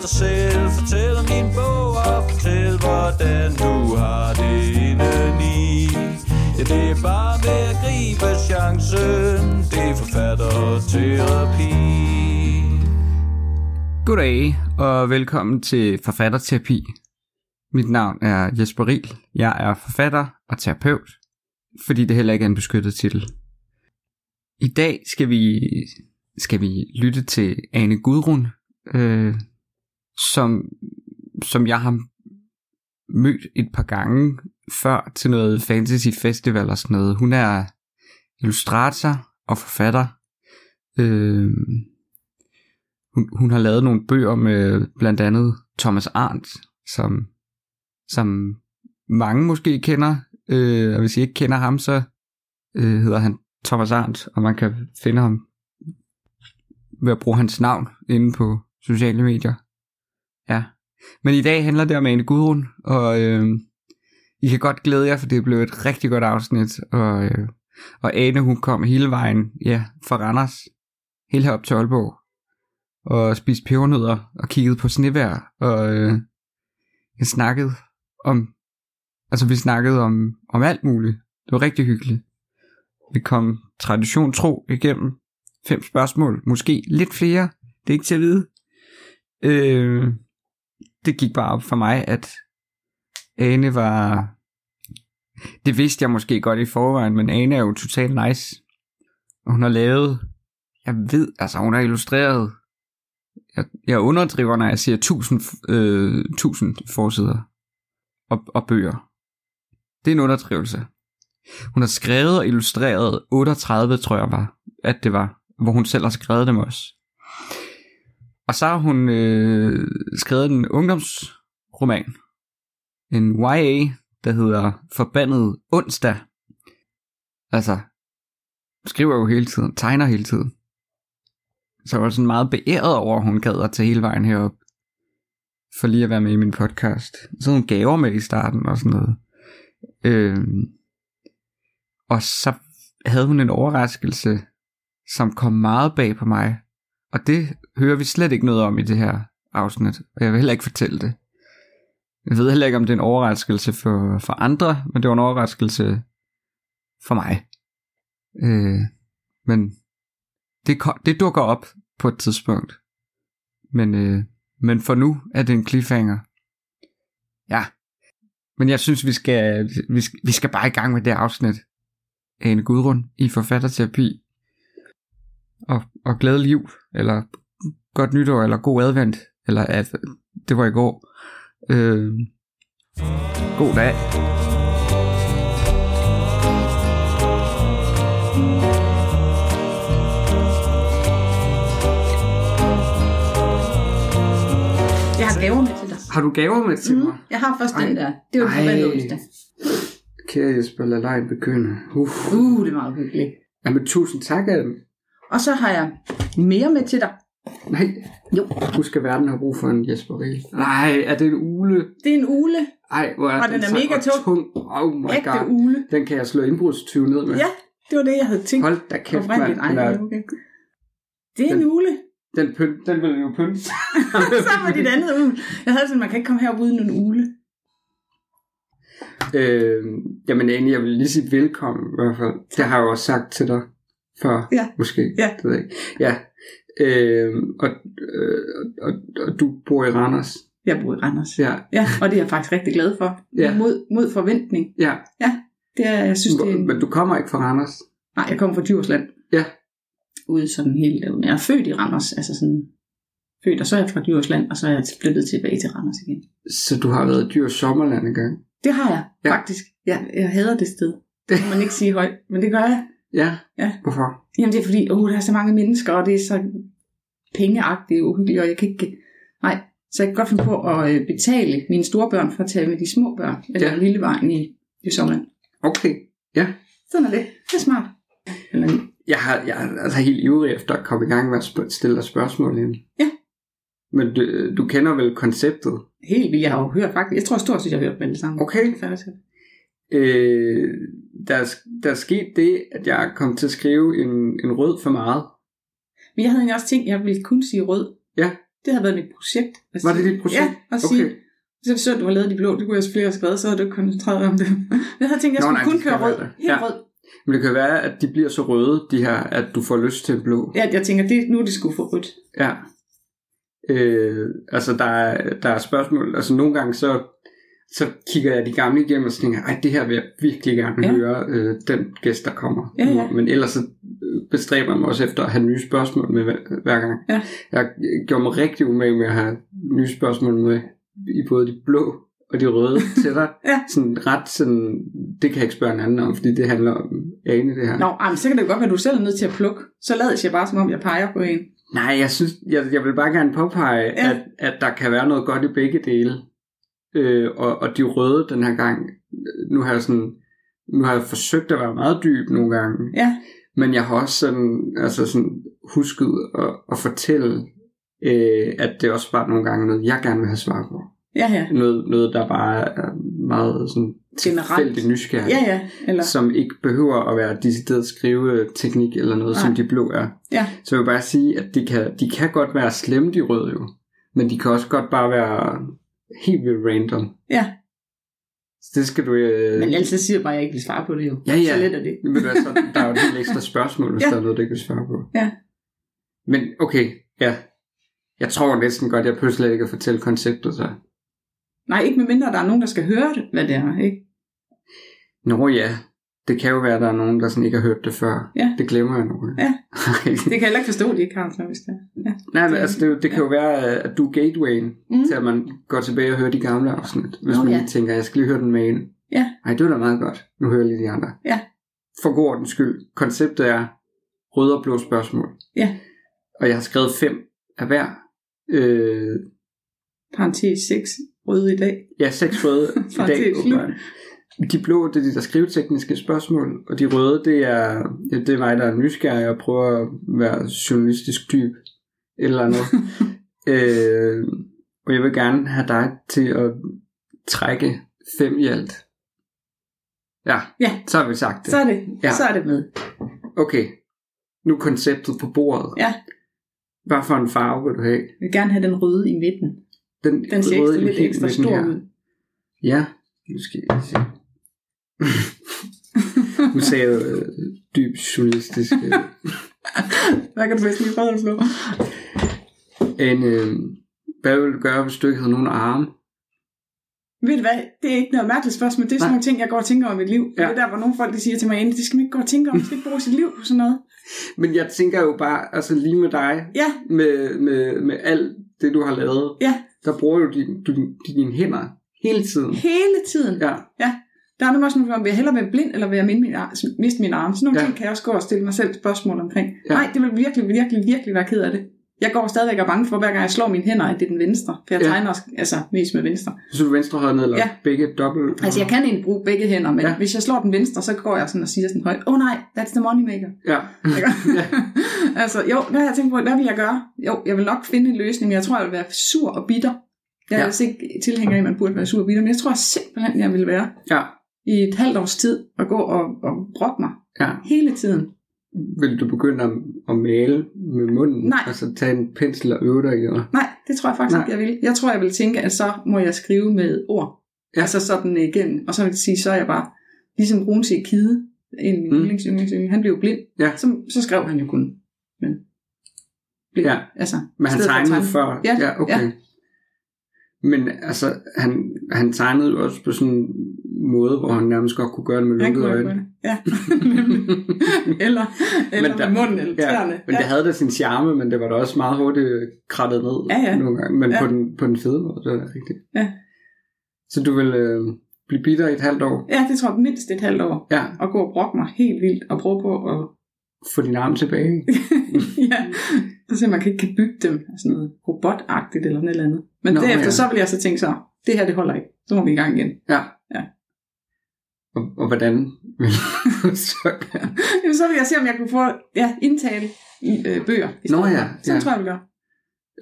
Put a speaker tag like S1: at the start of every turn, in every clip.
S1: dig selv Fortæl om din bog og fortæl hvordan du har det indeni Ja, det er bare ved at gribe chancen Det er forfatterterapi
S2: Goddag og velkommen til Forfatterterapi. Mit navn er Jesper Riel. Jeg er forfatter og terapeut, fordi det heller ikke er en beskyttet titel. I dag skal vi, skal vi lytte til Ane Gudrun, øh, som, som jeg har mødt et par gange før til noget fantasy festival og sådan noget. Hun er illustrator og forfatter. Øh, hun, hun har lavet nogle bøger med blandt andet Thomas Arndt, som, som mange måske kender, øh, og hvis I ikke kender ham, så øh, hedder han Thomas Arndt, og man kan finde ham ved at bruge hans navn inde på sociale medier. Ja. Men i dag handler det om Ane Gudrun, og øh, I kan godt glæde jer, for det blev et rigtig godt afsnit, og, øh, og Ane hun kom hele vejen ja, fra Randers, helt herop til Aalborg, og spiste pebernødder og kiggede på snevær og øh, jeg snakkede om altså vi snakkede om om alt muligt. Det var rigtig hyggeligt. Vi kom tradition tro igennem fem spørgsmål, måske lidt flere. Det er ikke til at vide. Øh, det gik bare op for mig at Ane var det vidste jeg måske godt i forvejen, men Ane er jo totalt nice. Og hun har lavet, jeg ved, altså hun har illustreret jeg, jeg underdriver, når jeg siger 1000, øh, 1000 forsider og, og bøger. Det er en underdrivelse. Hun har skrevet og illustreret 38, tror jeg var, at det var, hvor hun selv har skrevet dem også. Og så har hun øh, skrevet en ungdomsroman, en YA, der hedder Forbandet onsdag. Altså, skriver jo hele tiden, tegner hele tiden. Så jeg var sådan meget beæret over, at hun gad at tage hele vejen herop. For lige at være med i min podcast. Så havde hun gaver med i starten og sådan noget. Øhm, og så havde hun en overraskelse, som kom meget bag på mig. Og det hører vi slet ikke noget om i det her afsnit. Og jeg vil heller ikke fortælle det. Jeg ved heller ikke, om det er en overraskelse for, for andre, men det var en overraskelse for mig. Øh, men det, ko- det dukker op på et tidspunkt. Men, øh, men for nu er det en cliffhanger. Ja. Men jeg synes, vi skal, vi, skal- vi skal bare i gang med det afsnit af en gudrund i forfatterterapi. Og, og glædelig liv, eller godt nytår, eller god advent, eller at det var i går. Øh, god dag.
S3: Jeg har gaver med til dig. Mm,
S2: Har du gaver med til mig?
S3: Jeg har først den
S2: Ej.
S3: der. Det var
S2: Ej.
S3: forbandet onsdag.
S2: Kære Jesper, lad lejen begynde. Uff.
S3: Uh, det er meget hyggeligt.
S2: Jamen, tusind tak, Adam.
S3: Og så har jeg mere med til dig.
S2: Nej,
S3: Jo,
S2: husk at verden har brug for en Jesper Riel. Nej, er det en ule?
S3: det er en ule.
S2: Ej, hvor er
S3: Og den er
S2: så
S3: mega tung.
S2: tung. Oh my
S3: Ægte
S2: god.
S3: ule.
S2: Den kan jeg slå indbrudstyve ned med.
S3: Ja, det var det, jeg havde tænkt.
S2: Hold da kæft, mand.
S3: oprindeligt. Ej,
S2: Den,
S3: det
S2: er,
S3: er okay. Det er en ule.
S2: den, pynt, den vil jo pynte.
S3: Sammen med dit andet ule. Jeg havde sådan, man kan ikke komme herop uden en ule.
S2: øh, jamen, egentlig, jeg vil lige sige velkommen i hvert fald. Det har jeg jo også sagt til dig før,
S3: Ja.
S2: måske.
S3: Ja.
S2: Det ved jeg ikke. Ja. Øh, og, øh, og, og, og, du bor i Randers.
S3: Jeg bor i Randers.
S2: Ja.
S3: Ja, og det er jeg faktisk rigtig glad for.
S2: Ja.
S3: Mod, mod forventning.
S2: ja.
S3: Det er, jeg synes, det er en...
S2: Men du kommer ikke fra Randers.
S3: Nej, jeg kommer fra Djursland.
S2: Ja.
S3: Ude sådan helt derude. Men jeg er født i Randers, altså sådan... Født, og så er jeg fra Djursland, og så er jeg flyttet tilbage til Randers igen.
S2: Så du har været i dyr sommerland engang.
S3: Det har jeg,
S2: Ja.
S3: ja. faktisk. Jeg, jeg hader det sted. Det kan man ikke sige højt, men det gør jeg.
S2: Ja.
S3: Ja.
S2: Hvorfor?
S3: Jamen det er fordi, åh, der er så mange mennesker, og det er så pengeagtigt og uhyggeligt, og jeg kan ikke... Nej, så jeg kan godt finde på at øh, betale mine store børn for at tage med de små børn, eller
S2: Ja.
S3: ja. lille vejen i, i sommeren.
S2: Okay.
S3: Sådan er det. Det er smart. Eller,
S2: Jeg, har, jeg er altså helt ivrig efter at komme i gang med at sp- stille dig spørgsmål ind.
S3: Ja.
S2: Men du, du kender vel konceptet?
S3: helt vildt, jeg har jo hørt faktisk. Jeg tror stort set, jeg har hørt dem alle sammen.
S2: Okay.
S3: Faktisk.
S2: Øh, der, er sk- der er sket det, at jeg kom til at skrive en, en rød for meget.
S3: Men jeg havde egentlig også tænkt, at jeg ville kun sige rød.
S2: Ja.
S3: Det havde været mit projekt. at
S2: Var det
S3: sige-
S2: dit projekt?
S3: Ja, at sige, okay. så så du har lavet de blå, det kunne jeg selvfølgelig have skrevet, så havde du ikke koncentreret dig om det. Jeg havde tænkt, jeg
S2: Nå,
S3: skulle
S2: nej,
S3: kun
S2: det
S3: køre
S2: skal
S3: rød.
S2: være det.
S3: Helt
S2: Ja.
S3: rød.
S2: Men det kan jo være, at de bliver så røde, de her, at du får lyst til en blå.
S3: Ja, jeg tænker, det, nu er det sgu for rødt.
S2: Ja. Øh, altså, der er, der er spørgsmål. Altså, nogle gange så, så kigger jeg de gamle igennem, og så tænker jeg, "Ej, det her vil jeg virkelig gerne
S3: Ja.
S2: ja. høre, øh, den gæst, der kommer.
S3: Ja, ja.
S2: Men ellers så øh, bestræber jeg mig også efter at have nye spørgsmål med hver, hver gang.
S3: Ja.
S2: Jeg øh, gjorde mig rigtig umage med at have nye spørgsmål med i både de blå og de røde til dig.
S3: Ja.
S2: Sådan ret sådan, det kan jeg ikke spørge en anden om, fordi det handler om Ane, det her.
S3: Nå, ej, men så kan det jo godt være, at du selv er nødt til at plukke. Så lades jeg bare, som om jeg peger på en.
S2: Nej, jeg synes, jeg, jeg vil bare gerne påpege,
S3: Ja.
S2: ja. at, at der kan være noget godt i begge dele. Øh, og, og de røde den her gang, nu har jeg sådan, nu har jeg forsøgt at være meget dyb nogle gange,
S3: Ja,
S2: men jeg har også sådan, altså sådan husket at, at fortælle, øh, at det også bare nogle gange er noget, jeg gerne vil have svar på.
S3: ja, ja.
S2: Noget, noget der bare er meget sådan
S3: Generelt.
S2: tilfældig nysgerrig,
S3: Ja, ja. Eller,
S2: som ikke behøver at være decideret skriveteknik eller noget, Nej. som
S3: Nej.
S2: de blå er.
S3: ja,
S2: Så jeg vil bare sige, at de kan, de kan godt være slemme, de røde jo. Men de kan også godt bare være helt vildt random.
S3: ja.
S2: Så det skal du... Øh...
S3: Men ellers så siger jeg bare, at jeg ikke vil svare på det jo.
S2: Ja, ja.
S3: Så let er det.
S2: Ved du hvad, så der er jo et helt ekstra spørgsmål, hvis
S3: Ja.
S2: ja. der er noget, du ikke vil svare på.
S3: Ja.
S2: Men okay, ja. Jeg tror næsten godt, jeg pludselig ikke kan fortælle konceptet så.
S3: Nej, ikke med mindre, der er nogen, der skal høre det, hvad det er, ikke?
S2: Nå ja, det kan jo være, at der er nogen, der sådan ikke har hørt det før.
S3: Ja.
S2: Det glemmer jeg nu.
S3: Ja.
S2: Ej,
S3: Det kan jeg heller ikke forstå, at de ikke har, så hvis det er. Ja.
S2: Nej, men altså, det, er jo- det kan jo være, at du er gatewayen
S3: Mm.
S2: mm. til, at man går tilbage og hører de gamle afsnit. Hvis
S3: Nå,
S2: man
S3: ja.
S2: lige tænker, jeg skal lige høre den med en.
S3: Ja.
S2: Ej, det var da meget godt. Nu hører jeg lige de andre.
S3: Ja.
S2: For god ordens skyld. Konceptet er røde og blå spørgsmål.
S3: Ja.
S2: Og jeg har skrevet fem af hver. Øh,
S3: Parenthes 6, røde i dag.
S2: ja, seks røde i
S3: Faktisk
S2: dag.
S3: syv.
S2: åbenbart. De blå, det er de der skrivetekniske spørgsmål, og de røde, det er, ja, det er mig, der er nysgerrig og prøver at være journalistisk dyb, eller noget. øh, og jeg vil gerne have dig til at trække fem i alt. Ja,
S3: Ja.
S2: så har vi sagt det.
S3: Så er det, ja.
S2: Ja.
S3: så er det med.
S2: Okay, nu er konceptet på bordet.
S3: Ja.
S2: Hvad for en farve vil du have?
S3: Jeg vil gerne have den røde i midten.
S2: Den,
S3: Den ser
S2: røde
S3: ekstra,
S2: i
S3: lidt
S2: midten
S3: ekstra
S2: her.
S3: stor ud.
S2: Ja, nu skal jeg se. nu sagde jeg jo, øh, dybt journalistisk. øh.
S3: Der kan du bedst lige røde eller blå.
S2: Anne, øh, hvad ville du gøre, hvis du ikke havde nogen arme?
S3: Ved du hvad, det er ikke noget mærkeligt spørgsmål. Det er sådan
S2: Nej.
S3: nogle ting, jeg går og tænker om i mit liv. Ja.
S2: Ja.
S3: Det er der, hvor nogle folk de siger til mig, "Anne, det skal man ikke gå og tænke om. Man skal ikke bruge sit liv på sådan noget.
S2: Men jeg tænker jo bare, altså lige med dig,
S3: Ja,
S2: med, med, med alt det, du har lavet,
S3: ja,
S2: der bruger du din, du, din, dine hænder hele tiden.
S3: hele tiden. Ja.
S2: Ja,
S3: Der er nemlig også nogle gange, vil jeg hellere være blind, eller vil jeg minde min arm, miste min arm. Sådan nogle ja.
S2: Ja.
S3: ting kan jeg også gå og stille mig selv spørgsmål omkring. Ja.
S2: Ja.
S3: Nej, det vil virkelig, virkelig, virkelig være ked af det. Jeg går stadigvæk og er bange for, hver gang jeg slår mine hænder, at det er den venstre. For jeg
S2: Ja.
S3: tegner også, altså, mest med venstre.
S2: så er du venstrehåndet, eller
S3: Ja.
S2: ja. begge dobbelt.
S3: Altså, jeg kan egentlig bruge begge hænder, men ja.
S2: Ja.
S3: hvis jeg slår den venstre, så går jeg sådan og siger sådan højt, oh nej, that's the money maker.
S2: Ja,
S3: Ikke? altså, jo, hvad har jeg tænkt på, hvad vil jeg gøre? Jo, jeg vil nok finde en løsning, men jeg tror, jeg vil være sur og bitter. Jeg er ja.
S2: Ja.
S3: altså ikke tilhænger af, at man burde være sur og bitter, men jeg tror simpelthen, jeg ville være
S2: ja,
S3: i et halvt års tid og gå og, og brokke mig
S2: ja.
S3: hele tiden.
S2: Vil du begynde at, at male med munden?
S3: Nej.
S2: Altså tage en pensel og øve dig, eller?
S3: Nej, det tror jeg faktisk
S2: Nej.
S3: ikke, jeg vil. Jeg tror, jeg vil tænke, at så må jeg skrive med ord. Ja.
S2: Ja.
S3: Altså sådan igen. Og så vil jeg sige, så er jeg bare ligesom Brunse Kide, en af mine
S2: Mm.
S3: mm. yndlings, yndlings, yndlings, han blev jo blind.
S2: Ja.
S3: Så, så skrev han jo kun. Men, blind.
S2: Ja.
S3: Altså,
S2: Men han
S3: i stedet for at
S2: tegnede
S3: tegne.
S2: før?
S3: Ja,
S2: ja okay.
S3: ja.
S2: Ja. Men altså, han, han tegnede jo også på sådan en måde, hvor han nærmest godt kunne gøre det med
S3: Han kunne
S2: lukkede
S3: jo gøre
S2: øjne.
S3: det. Ja. eller eller
S2: Men
S3: der, med munden eller
S2: ja,
S3: tæerne.
S2: Men det havde da sin charme, men det var da også meget hurtigt øh, krattet ned
S3: Ja, ja.
S2: nogle gange. Men
S3: Ja.
S2: på, den, på den fede måde, det er da rigtigt.
S3: Ja.
S2: Så du vil øh, blive bitter i et halvt år?
S3: ja, det tror jeg mindst et halvt år.
S2: Ja,
S3: Og gå og brokke mig helt vildt og prøve på at...
S2: få din arm tilbage.
S3: ja, så man kan ikke kan bygge dem af sådan noget robotagtigt eller sådan et eller andet. Men Nå,
S2: Nå,
S3: derefter
S2: ja.
S3: så vil jeg så tænke så, det her det holder ikke. Så må vi i gang igen.
S2: Ja.
S3: Ja.
S2: Og, og hvordan vil du så gøre?
S3: Jamen, så vil jeg se, om jeg kunne få ja, indtale i øh, bøger. I
S2: Nå
S3: stedet
S2: ja,
S3: for. Sådan
S2: ja.
S3: tror jeg, vi gør.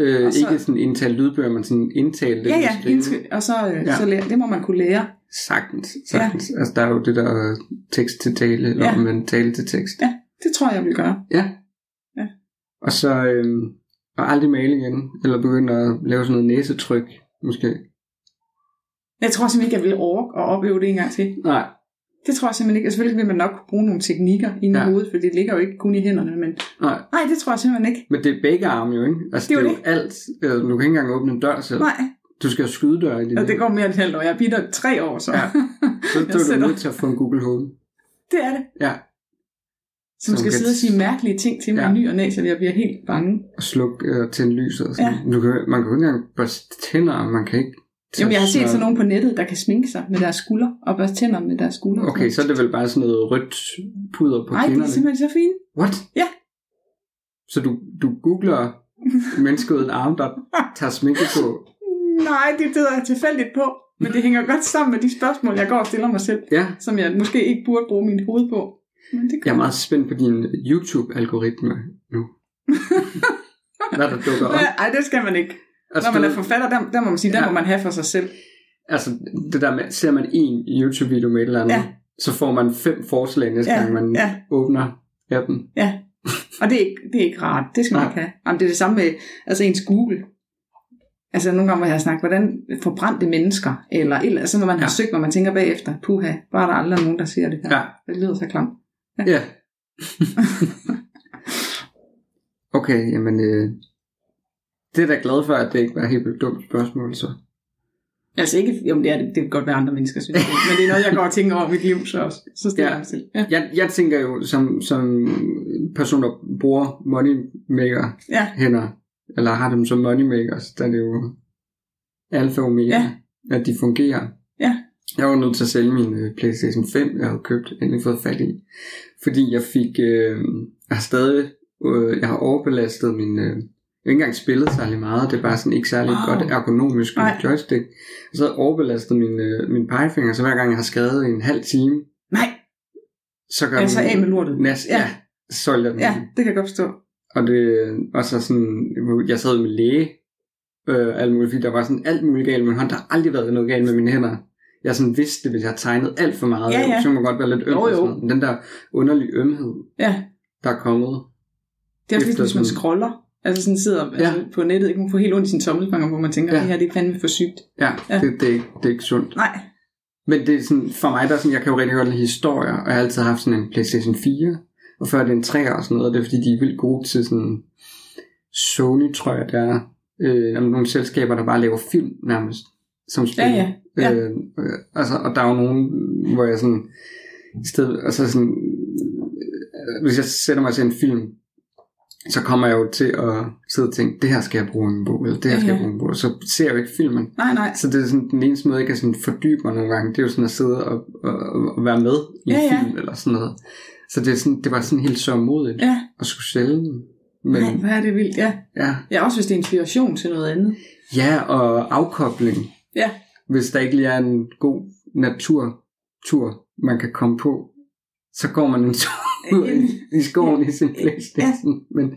S2: Øh,
S3: Og så-
S2: ikke sådan indtale lydbøger, men sådan indtale det.
S3: Ja,
S2: du
S3: ja,
S2: skriver.
S3: indsk- og så, øh, ja.
S2: Ja.
S3: så lære, det må man kunne lære.
S2: Sagtens, sagtens. Ja. Altså, der er jo det der tekst til tale, eller
S3: Ja.
S2: ja. omvendt tale til tekst.
S3: Ja. Det tror jeg, jeg vil gøre.
S2: ja.
S3: Ja.
S2: Og så, øhm, Og aldrig male igen. Eller begynde at lave sådan noget næsetryk, måske.
S3: Jeg tror simpelthen ikke, jeg ville orke at opleve det en gang til.
S2: Nej.
S3: Det tror jeg simpelthen ikke. Og selvfølgelig vil man nok kunne bruge nogle teknikker inde i
S2: Ja.
S3: hovedet, for det ligger jo ikke kun i hænderne. Men
S2: Nej.
S3: nej, det tror jeg simpelthen ikke.
S2: Men det er begge arme jo, ikke? Altså,
S3: Det
S2: det
S3: er
S2: er,
S3: jo
S2: det er jo alt. Altså, du kan ikke engang åbne en dør selv.
S3: Nej,
S2: Du skal have skydedør i din
S3: og det
S2: hænder.
S3: går mere end et halvt år. Jeg er bitter tre år, så.
S2: Ja. Så
S3: Jeg
S2: er du
S3: sætter-
S2: nødt til at få en Google Home.
S3: Det er det.
S2: Ja.
S3: Som
S2: Som
S3: skal
S2: kan-
S3: sidde og sige mærkelige ting til mig ja.
S2: Ja.
S3: ny og næ, så jeg bliver helt bange.
S2: Og slukke øh, og tænde lyset. Og sådan.
S3: Ja.
S2: Ja. Du kan, man kan jo ikke engang børste tænder, og man kan ikke... tage
S3: Jamen, jeg har set
S2: smør.
S3: sådan nogen på nettet, der kan sminke sig med deres skulder og børste tænder med deres skulder.
S2: Okay, så er det vel bare sådan noget rødt puder på
S3: Nej, det er
S2: kinderne.
S3: simpelthen så fint.
S2: What?
S3: Ja.
S2: Så du, du googler mennesket uden arm, der tager sminke på.
S3: Nej, det bider jeg tilfældigt på. Men det hænger godt sammen med de spørgsmål, jeg går og stiller mig selv,
S2: Ja,
S3: som jeg måske ikke burde bruge min hoved på. Men det
S2: jeg
S3: gør
S2: er meget spændt på din YouTube-algoritme nu. Hvad der dukker op.
S3: Nej, det skal man ikke.
S2: Altså,
S3: Når man
S2: du
S3: er forfatter, der, der må man sige, ja. der
S2: Ja.
S3: må man have for sig selv.
S2: altså det der med, ser man en YouTube-video med et eller andet,
S3: Ja.
S2: ja. så får man fem forslag næste
S3: Ja,
S2: ja. gang, man
S3: ja.
S2: ja. åbner appen.
S3: Og det er ikke, det er ikke rart. Det skal man
S2: Nej.
S3: ikke have. Jamen, det er det samme med altså ens Google. Altså nogle gange, hvor jeg har snakket, hvordan forbrændte mennesker, eller, eller så når man ja. har
S2: Ja.
S3: søgt, hvor man tænker bagefter, puha, var der aldrig nogen, der siger det her.
S2: Ja.
S3: Det lyder så klamt.
S2: ja. okay, jamen, øh, det er da glad for, at det ikke var et helt vildt dumt spørgsmål, så.
S3: Altså ikke, jo, det, er, det det kan godt være andre mennesker synes, det, men det er noget, jeg går og tænker over i mit liv, så, også, så
S2: Ja.
S3: stiller ja. jeg mig selv. Ja.
S2: Jeg, jeg tænker jo, som, som person, der bruger moneymaker
S3: ja.
S2: hænder, eller har dem som moneymakers, der er det jo alfa og omega,
S3: Ja.
S2: ja. at de fungerer.
S3: Ja.
S2: Jeg var nødt til at sælge min øh, Playstation 5, jeg havde købt, endelig fået fat i. Fordi jeg fik, øh, jeg har stadig, øh, jeg har overbelastet min, øh, jeg har ikke engang spillet særlig meget, det er bare sådan ikke særlig
S3: Wow.
S2: wow. godt ergonomisk
S3: Nej.
S2: Nej. joystick. Og så havde jeg overbelastet min, øh, min pegefinger, så hver gang jeg har skrevet i en halv time,
S3: Nej,
S2: så gør
S3: altså af med lortet.
S2: næst, ja.
S3: Ja.
S2: ja, solgte jeg den.
S3: Ja, det kan jeg godt forstå.
S2: Og det var så sådan, jeg sad med læge, øh, alt muligt, fordi der var sådan alt muligt galt med min hånd. Der har aldrig været noget galt med mine hænder. Jeg sådan vidste det, hvis jeg tegnede alt for meget.
S3: Ja, ja.
S2: Så må godt være lidt øm.
S3: Jo,
S2: og sådan
S3: jo.
S2: noget. Men Den der underlige ømhed,
S3: Ja,
S2: der er kommet.
S3: det er også ligesom,
S2: Efter
S3: hvis man
S2: sådan-
S3: scroller, altså sådan sidder ja. altså, på nettet, ikke? man får helt ondt i sin tommelfinger, hvor man tænker,
S2: Ja.
S3: ja. det her det er fandme for sygt.
S2: Ja,
S3: Ja.
S2: ja. Det, det, er ikke- det, er ikke sundt.
S3: Nej,
S2: Men det er sådan, for mig, der er sådan, jeg kan jo rigtig godt lide historier, og jeg har altid haft sådan en Playstation 4, og før det er en 3 og sådan noget, og det er fordi, de er vildt gode til sådan, Sony, tror jeg, der er øh, om nogle selskaber, der bare laver film nærmest, som spil.
S3: ja, ja.
S2: Øh, øh, altså, og der er jo nogen, hvor jeg sådan, i stedet, altså sådan, øh, hvis jeg sætter mig til en film, så kommer jeg jo til at sidde og tænke, det her skal jeg bruge en bog, eller det her skal
S3: Ja,
S2: jeg
S3: ja.
S2: bruge en bog, så ser jeg jo ikke filmen.
S3: nej, nej.
S2: Så det er sådan, den eneste måde, jeg kan sådan fordybe mig nogle gange, det er jo sådan at sidde og, og, og være med i en
S3: Ja, ja.
S2: ja, film eller sådan noget. Så det, er sådan, det var sådan helt så modigt
S3: Ja,
S2: at skulle sælge den. Men
S3: nej, hvor er det vildt, ja.
S2: ja,
S3: Ja, også hvis det er inspiration til noget andet.
S2: ja, og afkobling.
S3: Ja,
S2: Hvis der ikke lige er en god naturtur, man kan komme på, så går man en tur ud i- i skoven i sin playstation. Men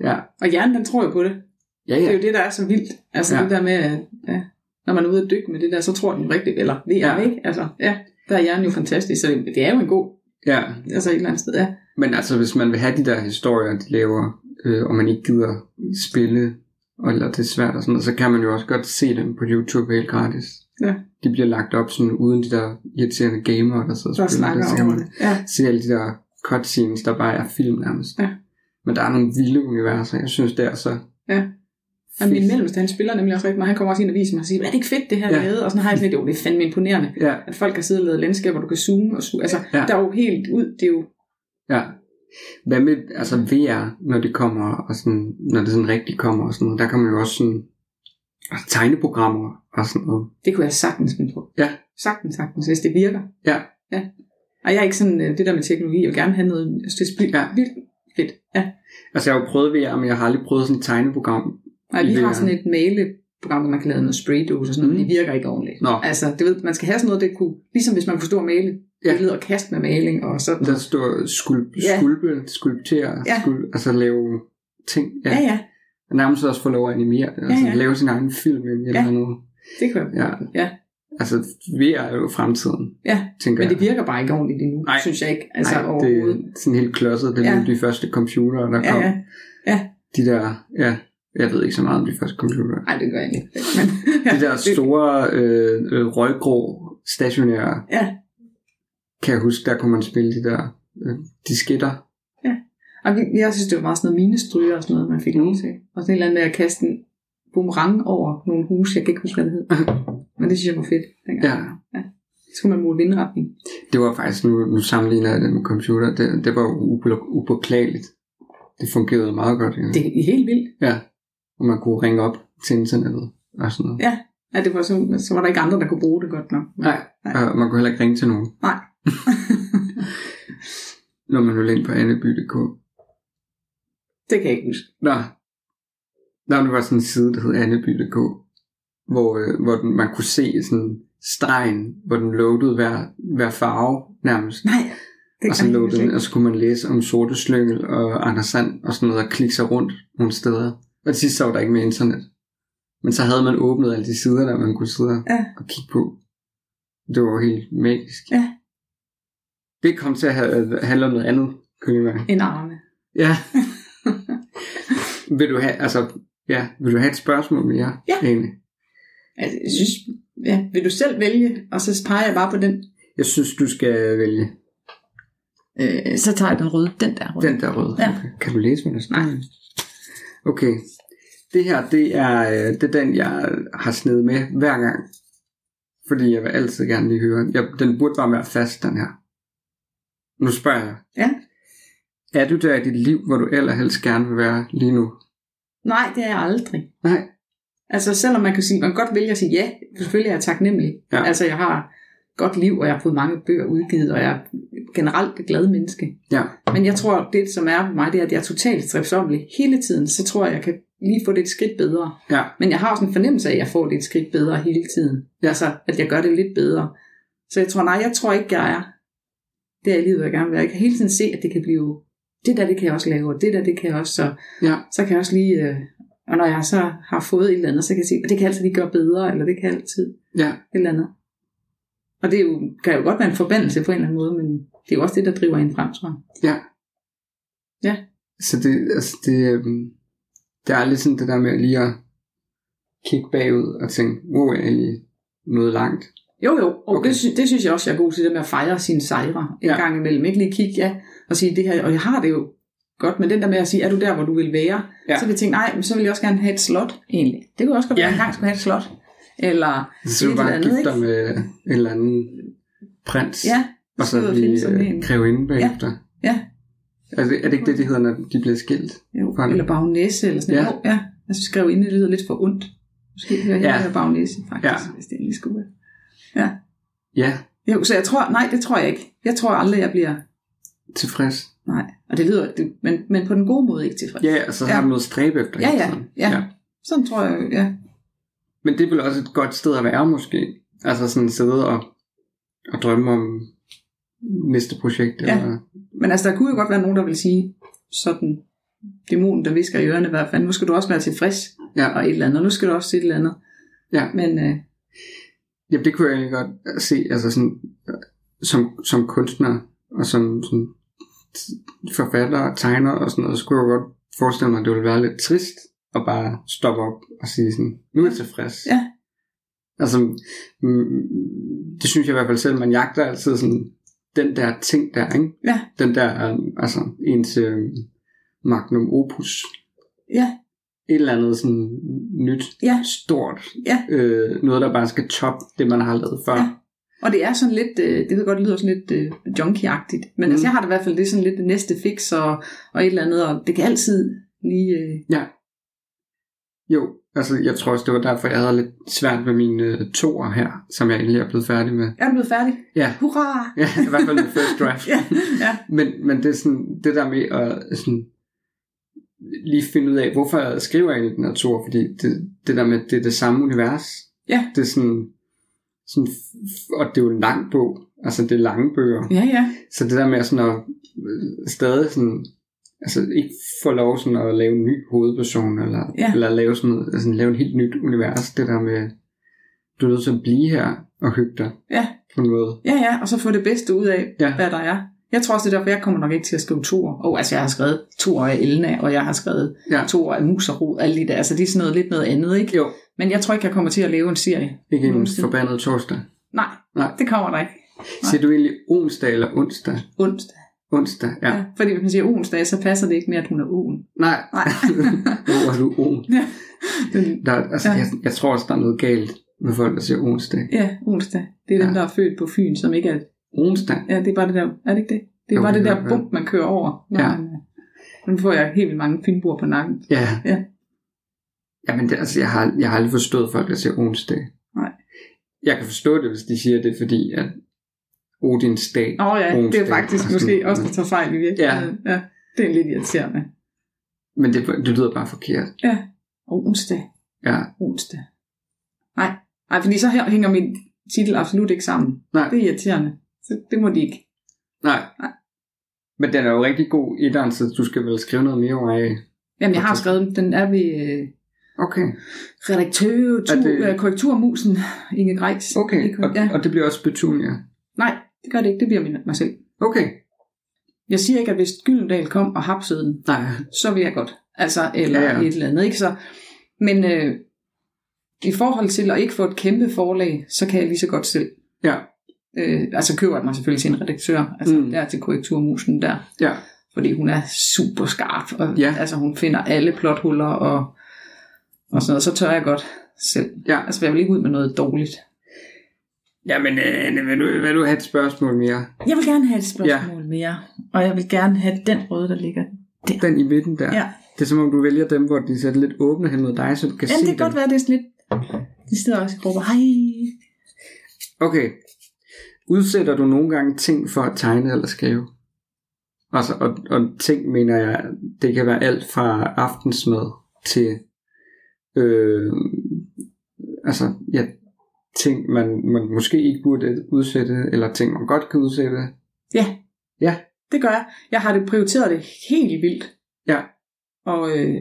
S2: ja,
S3: og hjernen den tror jo på det.
S2: ja,
S3: Det er
S2: ja.
S3: jo det, der er så vildt. Altså ja.
S2: Ja.
S3: det der med, at, ja, når man er ude at dykke med det der, så tror den jo rigtigt, eller det er
S2: Ja.
S3: ja. ikke. Altså, ja, der er hjernen jo fantastisk, så det er jo en god,
S2: ja.
S3: altså et eller andet sted, ja.
S2: Men altså, hvis man vil have de der historier, de laver, øh, og man ikke gider spille, eller det er svært og sådan noget, så kan man jo også godt se dem på YouTube helt gratis.
S3: Ja.
S2: De bliver lagt op sådan uden de der irriterende gamere, der sidder
S3: Der
S2: og spiller
S3: snakker
S2: det. Så kan
S3: om
S2: man
S3: det. Ja.
S2: se alle de der cutscenes, der bare er film nærmest.
S3: Ja.
S2: Men der er nogle vilde universer, jeg synes, det er så...
S3: Ja. Og
S2: fedt.
S3: min mellemste, han spiller nemlig også rigtig meget. Han kommer også ind og viser mig og siger, er det ikke fedt det her
S2: Ja.
S3: ja. Og sådan har jeg sådan lidt, jo, det er fandme imponerende.
S2: Ja,
S3: At folk har siddet og lavet landskaber, hvor du kan zoome og zoome. Altså, ja.
S2: Ja.
S3: der er jo helt ud, det er jo...
S2: ja. Hvad med altså VR, når det kommer, og sådan, når det sådan rigtig kommer og sådan noget, der kan man jo også sådan og tegneprogrammer og sådan noget.
S3: Det kunne jeg sagtens finde på.
S2: Ja.
S3: Sagtens, sagtens, hvis det virker.
S2: Ja.
S3: ja. Og jeg er ikke sådan, øh, det der med teknologi, jeg vil gerne have noget, altså, det er
S2: Ja.
S3: ja. vildt fedt. Ja.
S2: Altså, jeg har jo prøvet VR, men jeg har aldrig prøvet sådan et tegneprogram.
S3: Nej, vi
S2: Det
S3: har
S2: er-
S3: sådan et maleprogram, hvor man kan lave noget spraydose og sådan noget, men
S2: Mm.
S3: det virker ikke ordentligt.
S2: Nå,
S3: Altså, du ved, man skal have sådan noget, det kunne, ligesom hvis man kunne stå og male,
S2: Ja.
S3: det hedder kast med maling og sådan
S2: der står skulp,
S3: Ja.
S2: skulpe, skulptere,
S3: Ja.
S2: ja. skulp, altså lave ting.
S3: Ja, ja,
S2: Og Nærmest også få lov at animere, ja, altså
S3: ja.
S2: lave sin egen film eller
S3: Ja.
S2: ja. noget.
S3: det kunne jeg.
S2: Ja.
S3: Ja.
S2: Altså, VR er jo fremtiden,
S3: Ja,
S2: tænker
S3: men det
S2: jeg.
S3: virker bare ikke ordentligt endnu,
S2: Nej.
S3: synes jeg ikke, altså
S2: Nej, det
S3: overhovedet.
S2: er sådan helt klodset. Det
S3: Ja.
S2: er ja. de første computere, der
S3: Ja,
S2: kom.
S3: ja. Ja.
S2: De der, ja, Jeg ved ikke så meget om de første computer.
S3: Nej, det gør jeg ikke. Men, ja,
S2: De der store øh, øh, røggrå stationære,
S3: Ja,
S2: kan jeg huske, der kunne man spille de der øh, disketter.
S3: og vi- jeg synes, det var meget sådan noget minestryger og sådan noget, man fik nogen til. Og sådan et eller andet med at kaste en boomerang over nogle huse, jeg kan ikke huske, hvad det hed. Men det synes jeg var fedt. dengang.
S2: Ja.
S3: ja. Så kunne man måle vindretning.
S2: Det var faktisk, nu, nu sammenligner jeg det med computer, det, det var upo- upåklageligt. Det fungerede meget godt. egentlig.
S3: Det er helt vildt.
S2: Ja, og man kunne ringe op til internettet og sådan noget.
S3: Ja. Ja, det var så, så var der ikke andre, der kunne bruge det godt nok.
S2: Nej, og man kunne heller ikke ringe til nogen,
S3: Nej.
S2: når man ville ind på anneby.dk.
S3: det kan jeg ikke huske.
S2: Nå, der var sådan en side, der hed anneby.dk, hvor, øh, hvor den, man kunne se sådan stregen, hvor den loadede hver, hver farve nærmest.
S3: Nej. Det
S2: Og så
S3: jeg
S2: lå
S3: huske
S2: den,
S3: ikke.
S2: og så kunne man læse om sorte slyngel og Anders Sand og sådan noget, og klikke sig rundt nogle steder. Og til sidst så var der ikke mere internet. Men så havde man åbnet alle de sider, der man kunne sidde
S3: Ja.
S2: og kigge på. Det var jo helt magisk.
S3: Ja.
S2: Det kom til at have- handle om noget andet, kunne jeg mærke.
S3: En arme.
S2: Ja. vil du have, altså, ja, vil du have et spørgsmål mere?
S3: Ja.
S2: Egentlig?
S3: Altså, jeg synes, ja, vil du selv vælge, og så peger jeg bare på den.
S2: Jeg synes, du skal vælge
S3: Øh, så tager jeg den røde, den der røde.
S2: den der røde.
S3: Ja.
S2: Okay. Kan du læse, hvad der står?
S3: Nej.
S2: Okay. Det her, det er, øh, det er den, jeg har snedet med hver gang. Fordi jeg vil altid gerne lige høre. Jeg, den burde bare være fast, den her. Nu spørger jeg.
S3: Ja.
S2: Er du der i dit liv, hvor du allerhelst gerne vil være lige nu?
S3: Nej, det er jeg aldrig.
S2: Nej.
S3: Altså selvom man kan sige, man kan godt vælge at sige ja, selvfølgelig er jeg taknemmelig.
S2: Ja.
S3: Altså jeg har et godt liv, og jeg har fået mange bøger udgivet, og jeg er generelt et glad menneske.
S2: Ja.
S3: Men jeg tror, det som er med mig, det er, at jeg er totalt strepsommelig hele tiden, så tror jeg, jeg kan lige få det et skridt bedre.
S2: Ja.
S3: Men jeg har også en fornemmelse af, at jeg får det et skridt bedre hele tiden.
S2: Ja.
S3: Altså, at jeg gør det lidt bedre. Så jeg tror, nej, jeg tror ikke, jeg er der i livet, jeg gerne vil være. Jeg kan hele tiden se, at det kan blive, det der, det kan jeg også lave, og det der, det kan jeg også, så,
S2: Ja.
S3: så kan jeg også lige, øh, og når jeg så har fået et eller andet, så kan jeg sige, at det kan jeg altid lige gøre bedre, eller det kan jeg altid
S2: Ja.
S3: et eller andet. Og det er jo, kan jo godt være en forbandelse på en eller anden måde, men det er jo også det, der driver en frem, tror jeg.
S2: Ja.
S3: Ja.
S2: Så det, altså det, øhm, det er aldrig sådan det der med lige at kigge bagud og tænke, wow, jeg er lige nået langt.
S3: Jo, jo, og
S2: Okay.
S3: okay. det, sy- det synes jeg også, jeg er god til, det med at fejre sine sejre
S2: Ja.
S3: en ja. gang imellem. Ikke lige kigge, ja, og sige det her, og jeg har det jo godt, men den der med at sige, er du der, hvor du vil være?
S2: Ja.
S3: Ja. Så vil jeg tænke, nej, men så vil jeg også gerne have et slot, egentlig. Det kunne også godt være,
S2: Ja.
S3: ja. en gang skulle have et slot. Eller,
S2: Så du
S3: Et
S2: bare
S3: eller andet,
S2: gifte dig
S3: ikke?
S2: med en eller anden prins,
S3: ja,
S2: og så øh,
S3: sidde og øh,
S2: blive
S3: finde sådan en.
S2: kræve inde bagefter.
S3: Ja.
S2: Er, det, er det ikke det, de hedder, når de bliver skilt?
S3: jo,
S2: Sådan.
S3: eller bagnæse, eller sådan
S2: Ja.
S3: noget. Ja. ja. Jeg synes, skrev ind, det lyder lidt for ondt. Måske hører jeg
S2: Ja.
S3: ja. her bagnæse, faktisk,
S2: Ja.
S3: ja. hvis det endelig skulle være.
S2: Ja,
S3: Jo, så jeg tror, nej, det tror jeg ikke. Jeg tror aldrig, jeg bliver,
S2: tilfreds.
S3: nej. Og det lyder, det, men, men på den gode måde ikke tilfreds.
S2: Ja, og så har
S3: Ja.
S2: man noget stræbe efter.
S3: Ja,
S2: hele
S3: ja,
S2: tiden.
S3: ja. Sådan tror jeg, ja.
S2: Men det er vel også et godt sted at være, måske. Altså sådan sidde og, og drømme om næste projekt.
S3: Ja.
S2: Eller,
S3: Men altså, der kunne jo godt være nogen, der vil sige, sådan, dæmonen, der visker i ørerne, hvad fanden, nu skal du også være tilfreds,
S2: ja.
S3: og et eller andet, nu skal du også et eller andet.
S2: Ja.
S3: Men øh,
S2: Jamen, det kunne jeg egentlig godt se, altså sådan, øh, som, som kunstner og som, som t- forfatter og tegner og sådan noget, så kunne jeg godt forestille mig, at det ville være lidt trist at bare stoppe op og sige sådan, nu er jeg tilfreds.
S3: Ja.
S2: Altså, mm, det synes jeg i hvert fald selv, man jagter altid sådan, den der ting der, ikke?
S3: Ja.
S2: Den der, øh, altså, ens øh, magnum opus.
S3: ja,
S2: Et eller andet sådan nyt,
S3: Ja.
S2: stort.
S3: Ja.
S2: Øh, noget, der bare skal toppe det, man har lavet før.
S3: Ja. og det er sådan lidt, øh, det ved jeg godt, det lyder sådan lidt øh, junkie-agtigt, men
S2: Mm.
S3: mm. altså, jeg har det i hvert fald, det er sådan lidt det næste fix og, og et eller andet, og det kan altid lige, øh,
S2: Jo, altså jeg tror også, det var derfor, jeg havde lidt svært med mine øh, toer her, som jeg egentlig er blevet færdig med.
S3: er du blevet færdig?
S2: Ja.
S3: Hurra!
S2: Ja, i hvert fald med first draft.
S3: ja, ja,
S2: Men, men det er sådan, det der med at sådan, lige finde ud af, hvorfor skriver jeg egentlig den her toer, fordi det, det der med, det er det samme univers.
S3: Ja.
S2: Det er sådan, sådan, f- og det er jo en lang bog, altså det er lange bøger.
S3: ja, ja,
S2: Så det der med sådan at øh, stadig sådan, altså ikke få lov sådan at lave en ny hovedperson, eller,
S3: Ja.
S2: eller lave sådan noget, altså lave et helt nyt univers, det der med, du er nødt til at blive her og hygge dig
S3: Ja.
S2: på en måde.
S3: ja, ja, og så få det bedste ud af,
S2: Ja.
S3: ja. hvad der er. Jeg tror også, det er derfor, jeg kommer nok ikke til at skrive toer. Og oh, altså, jeg har skrevet toer af Elna, og jeg har skrevet
S2: Ja.
S3: toer af Mus og Rod, alle de der. Altså, det er sådan noget lidt noget andet, ikke?
S2: Jo,
S3: Men jeg tror ikke, jeg kommer til at lave en serie.
S2: ikke en
S3: Nogensinde.
S2: forbandet torsdag.
S3: Nej,
S2: Nej.
S3: det kommer der ikke.
S2: Siger du egentlig onsdag eller onsdag?
S3: Onsdag.
S2: Onsdag, ja.
S3: Ja. Fordi hvis man siger onsdag, så passer det ikke med, at hun er ugen.
S2: Nej.
S3: Nej.
S2: Hvor er du on?
S3: Ja. Den-
S2: Der, er- altså,
S3: Ja.
S2: jeg, jeg tror også, der er noget galt med folk, der siger onsdag.
S3: Ja, onsdag. Det er dem,
S2: Ja.
S3: der er født på Fyn, som ikke er...
S2: Onsdag?
S3: Ja, det er bare det der... Er det ikke det? Det er
S2: Jo,
S3: bare
S2: det
S3: det
S2: kan
S3: der
S2: godt være.
S3: bump, man kører over. Når
S2: Ja.
S3: man, øh, nu får jeg helt vildt mange fynboer på nakken.
S2: Ja.
S3: Ja.
S2: Jamen, det, altså, jeg har, jeg har aldrig forstået folk, der siger onsdag.
S3: Nej.
S2: Jeg kan forstå det, hvis de siger det, fordi at Odins dag.
S3: Åh oh, ja, det er
S2: Onsdag. Altså,
S3: faktisk måske også, der tager fejl i virkeligheden. Ja. ja. Det er lidt irriterende.
S2: Men det, det lyder bare forkert.
S3: Onsdag.
S2: Ja.
S3: onsdag. Nej, Nej fordi så her hænger min titel absolut ikke sammen.
S2: Nej.
S3: Det er irriterende. Så det må de ikke.
S2: Nej.
S3: Nej.
S2: Men den er jo rigtig god i den, så du skal vel skrive noget mere over af.
S3: Jamen, jeg har
S2: Okay.
S3: skrevet, den. den er ved øh,
S2: Okay.
S3: redaktør,
S2: Er det-
S3: det... korrekturmusen Inge Grejs.
S2: Okay,
S3: Ikke-
S2: og,
S3: ja.
S2: og det bliver også Petunia.
S3: Nej, det gør det ikke. Det bliver min, mig selv.
S2: Okay.
S3: Jeg siger ikke, at hvis Gyldendal kom og hapsede den,
S2: Nej.
S3: så vil jeg godt. Altså, eller
S2: Ja,
S3: ja,
S2: ja.
S3: ja. et eller andet, ikke? Så, men øh, i forhold til at ikke få et kæmpe forlag, så kan jeg lige så godt selv.
S2: Ja.
S3: Øh, altså køber jeg mig selvfølgelig til en redaktør, altså
S2: Mm.
S3: mm. der til korrekturmusen der.
S2: Ja.
S3: fordi hun er super skarp, og
S2: Ja.
S3: ja. altså, hun finder alle plothuller og, og sådan noget, så tør jeg godt selv.
S2: Ja.
S3: Altså, jeg vil ikke ud med noget dårligt.
S2: Jamen, øh, Anne, vil, du, vil du have et spørgsmål mere?
S3: Jeg vil gerne have et
S2: spørgsmål
S3: ja. mere, og jeg vil gerne have den røde, der ligger.
S2: Den i midten der. Det er som om, du vælger dem, hvor de sætter lidt åbne hen mod dig, så du kan se dem.
S3: være, det er sådan lidt... De sidder også i grupper. Hej.
S2: Okay. Udsætter du nogle gange ting for at tegne eller skrive? Altså, og, og ting mener jeg, det kan være alt fra aftensmad til, øh, altså, ja, ting, man, man måske ikke burde udsætte, eller ting, man godt kan udsætte.
S3: Ja.
S2: Ja.
S3: Det gør jeg. Jeg har det prioriteret det helt vildt.
S2: Ja.
S3: Og øh,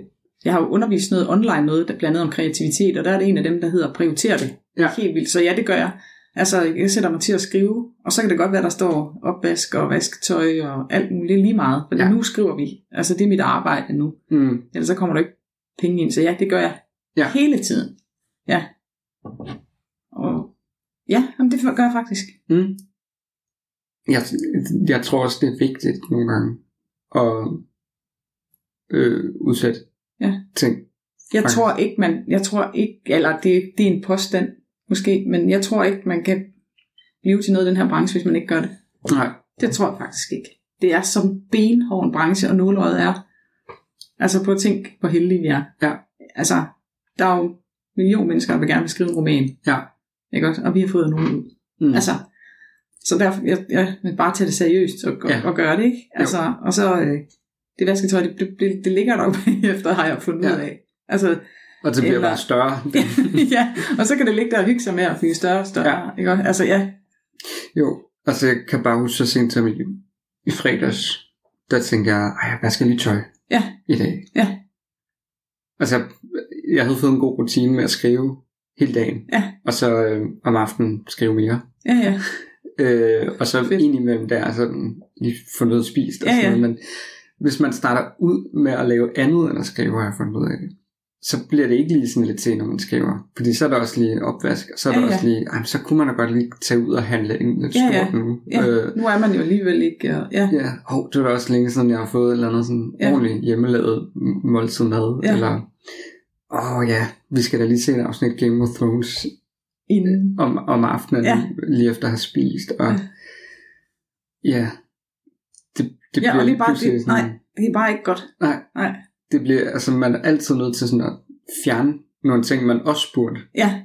S3: jeg har jo undervist noget online noget, der blandt andet om kreativitet, og der er det en af dem, der hedder prioriter det.
S2: Ja.
S3: Helt vildt. Så ja, det gør jeg. Altså, jeg sætter mig til at skrive, og så kan det godt være, der står opvask og vasketøj og alt muligt lige meget. For
S2: Ja.
S3: ja. nu skriver vi. Altså, det er mit arbejde nu.
S2: Mm.
S3: Ellers så kommer der ikke penge ind. Så ja, det gør jeg
S2: Ja.
S3: hele tiden. Ja. Og ja, jamen, det gør jeg faktisk.
S2: Mm. Jeg, jeg tror også, det er vigtigt nogle gange at øh, udsætte
S3: Ja.
S2: ting.
S3: Jeg
S2: Faktisk.
S3: tror ikke, man, jeg tror ikke, eller det, det er en påstand måske, men jeg tror ikke, man kan blive til noget i den her branche, hvis man ikke gør det.
S2: Nej.
S3: Det tror jeg faktisk ikke. Det er som benhård en branche, og nåløjet er. Altså på at tænke, hvor heldige vi er.
S2: Ja.
S3: Altså, der er jo en million mennesker, der gerne vil skrive en roman.
S2: Ja.
S3: Ikke også? Og vi har fået nogen ud.
S2: Mm.
S3: Altså, så derfor, jeg, jeg vil bare tage det seriøst og,
S2: Ja.
S3: ja. og gøre det, ikke? Altså, og så, øh, det vasketøj, det, det, det, det ligger der jo bagefter, har jeg fundet
S2: Ja.
S3: ud af. Altså,
S2: og det bliver
S3: eller-
S2: bare større.
S3: ja, og så kan det ligge der og hygge sig med at blive større og større.
S2: Ja.
S3: Ja. Ikke? også? Altså ja,
S2: Jo, altså jeg kan bare huske så sent som i, i fredags, der tænkte jeg, ej, hvad skal lige tøj
S3: Ja.
S2: i dag?
S3: Ja.
S2: Altså, jeg, jeg havde fået en god rutine med at skrive hele dagen,
S3: Ja.
S2: og så øh, om aftenen skrive mere.
S3: ja, ja.
S2: Øh, og så
S3: Fedt.
S2: indimellem der, sådan lige få noget spist og
S3: Ja,
S2: sådan
S3: ja.
S2: noget, men hvis man starter ud med at lave andet end at skrive, har jeg fundet ud af det, så bliver det ikke lige sådan lidt til, når man skriver. Fordi så er der også lige en opvask, og så er
S3: Ja,
S2: der
S3: ja.
S2: også lige, ej, men så kunne man da godt lige tage ud og handle en lidt
S3: Ja, ja.
S2: stort nu.
S3: Ja.
S2: Øh,
S3: Nu er man jo alligevel ikke, og, ja,
S2: ja. Hov, det var da også længe siden, jeg har fået et eller andet sådan ja.
S3: Ja.
S2: ordentligt hjemmelavet m- måltid mad,
S3: Ja.
S2: eller åh oh, ja, vi skal da lige se et afsnit Game of Thrones
S3: inden.
S2: om, om aftenen, ja.
S3: Ja.
S2: lige efter at have spist, og ja,
S3: Ja.
S2: det, det
S3: Ja,
S2: bliver
S3: og det er bare
S2: pludselig
S3: det, nej, det er bare ikke godt.
S2: nej,
S3: Nej.
S2: det bliver, altså man er altid nødt til sådan at fjerne nogle ting, man også burde,
S3: Ja,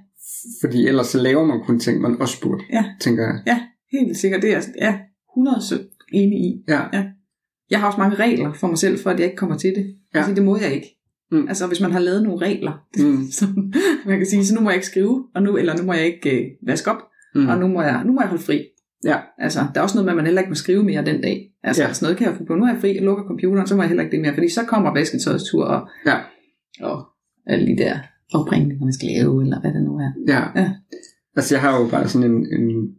S2: fordi ellers så laver man kun ting, man også burde,
S3: Ja.
S2: tænker jeg.
S3: helt sikkert, det er jeg ja, 100 enig i.
S2: Ja,
S3: Jeg har også mange regler for mig selv, for at jeg ikke kommer til det.
S2: Ja.
S3: Ja. Altså, det må jeg ikke.
S2: Mm.
S3: Mm. Altså, hvis man har lavet nogle regler,
S2: Mm.
S3: så man kan sige, så nu må jeg ikke skrive, og nu, eller nu må jeg ikke øh, vaske op,
S2: mm.
S3: og nu må, jeg, nu må jeg holde fri.
S2: Ja.
S3: Altså, der er også noget med, at man heller ikke må skrive mere den dag. Altså,
S2: Ja.
S3: ja. sådan noget kan jeg få på. Nu er jeg fri, jeg lukker computeren, så må jeg heller ikke det mere, fordi så kommer vasketøjets tur, og,
S2: Ja.
S3: og alle de der opringninger, man skal lave, eller hvad det nu er.
S2: Ja.
S3: Ja.
S2: Altså, jeg har jo bare sådan en, en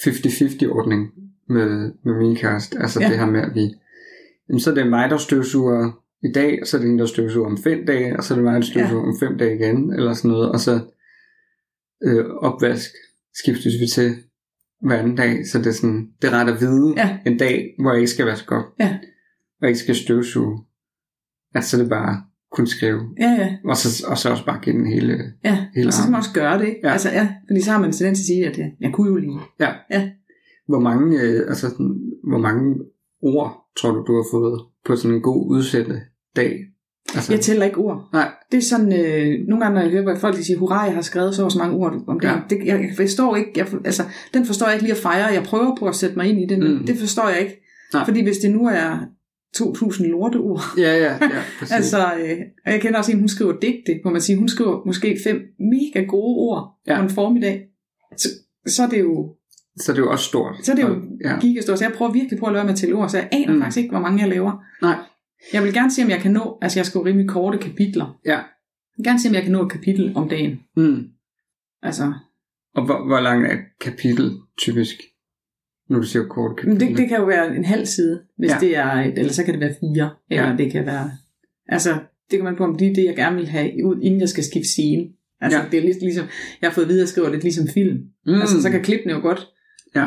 S2: 50-50-ordning med, med min kæreste. Altså
S3: Ja.
S2: ja. det her med, at vi... Jamen, så er det mig, der støvsuger i dag, og så er det hende, der støvsuger om fem dage, og så er det mig, der støvsuger ja. om fem dage igen, eller sådan noget. Og så øh, opvask skiftes vi til hver anden dag, så det er, sådan, det er ret at vide
S3: Ja.
S2: en dag, hvor jeg ikke skal vaske op,
S3: Ja.
S2: og ikke skal støvsuge. Altså så er det bare kun skrive.
S3: Ja, ja,
S2: Og så, og så også bare give den hele...
S3: ja.
S2: Helt
S3: og så skal man også gøre det, ikke?
S2: Ja.
S3: Altså, ja, fordi så har man en tendens til at sige, at øh, jeg, jeg kunne jo lige.
S2: Ja.
S3: Ja.
S2: Hvor mange, øh, altså, sådan, hvor mange ord tror du, du har fået på sådan en god udsætte dag? Altså,
S3: Jeg tæller ikke ord.
S2: nej,
S3: Det er sådan, øh, nogle gange, når jeg hører, hvor folk de siger, hurra, jeg har skrevet så og så mange ord om det. Ja.
S2: Ja.
S3: det jeg, jeg forstår ikke, jeg, for- altså, den forstår jeg ikke lige at fejre. Jeg prøver på at sætte mig ind i det, men mm.
S2: Mm.
S3: det forstår jeg ikke.
S2: Nej.
S3: Fordi hvis det nu er 2.000 lorteord,
S2: ja, ja, ja, præcis. altså,
S3: Altså, øh, og jeg kender også en, hun skriver digte, hvor man siger, hun skriver måske fem mega gode ord ja.
S2: Ja.
S3: på en formiddag. Så, så er det jo,
S2: så det er jo også stort.
S3: så er det jo ja.
S2: Ja,
S3: gigastort. Så jeg prøver virkelig på at lade være med at tælle ord, så jeg aner mm.
S2: Mm.
S3: faktisk ikke, hvor mange jeg laver.
S2: Nej.
S3: Jeg vil gerne se, om jeg kan nå, altså jeg skriver rimelig korte kapitler.
S2: ja.
S3: Jeg vil gerne se, om jeg kan nå et kapitel om dagen.
S2: Mm.
S3: Altså,
S2: Og hvor, hvor langt er et kapitel typisk? Nu du siger kort
S3: men
S2: kapitel.
S3: det, det kan jo være en halv side, hvis Mm.
S2: Ja.
S3: ja. det er, et, eller så kan det være fire, eller ja.
S2: Ja.
S3: det kan være, altså det kan man på, om det er det, jeg gerne vil have ud, inden jeg skal skifte scene. Altså, ja.
S2: Ja.
S3: det er lidt ligesom, jeg har fået videre skriver lidt ligesom film. Mm. Altså, så kan klippen jo godt.
S2: Ja.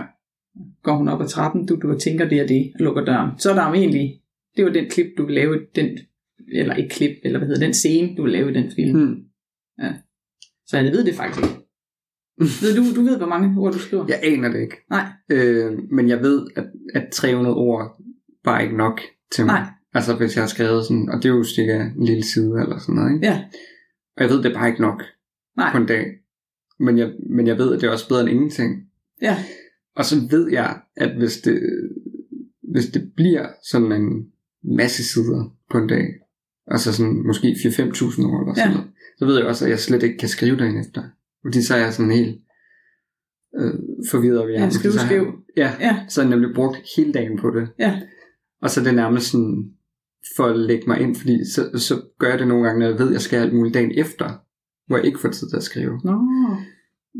S3: Går hun op ad trappen, du, du tænker det og det, og lukker døren. Så er der jo egentlig, det var den klip, du vil lave, i den, eller ikke klip, eller hvad hedder den scene, du vil lave i den film. Mm.
S2: Mm.
S3: Så jeg ved det faktisk ikke. ved du, du ved, hvor mange ord du skriver?
S2: Jeg aner det ikke.
S3: Nej.
S2: Øh, men jeg ved, at, at 300 ord bare er ikke nok til mig.
S3: Nej.
S2: Altså hvis jeg har skrevet sådan, og det er jo cirka en lille side eller sådan noget, ikke?
S3: Ja.
S2: Og jeg ved, det er bare ikke nok
S3: Nej.
S2: på en dag. Men jeg, men jeg ved, at det er også bedre end ingenting.
S3: Ja.
S2: Og så ved jeg, at hvis det, hvis det bliver sådan en masse sider på en dag, altså sådan måske 4-5.000 ord eller sådan ja.
S3: Ja.
S2: noget, så ved jeg også, at jeg slet ikke kan skrive dagen efter. Fordi så er jeg sådan helt øh, forvirret ved hjernen.
S3: skriveskæv.
S2: Så har jeg- Ja,
S3: Ja.
S2: så har jeg nemlig brugt hele dagen på det.
S3: Ja.
S2: Og så er det nærmest sådan for at lægge mig ind, fordi så, så gør jeg det nogle gange, når jeg ved, at jeg skal alt muligt dagen efter, hvor jeg ikke får tid til at skrive.
S3: Nå,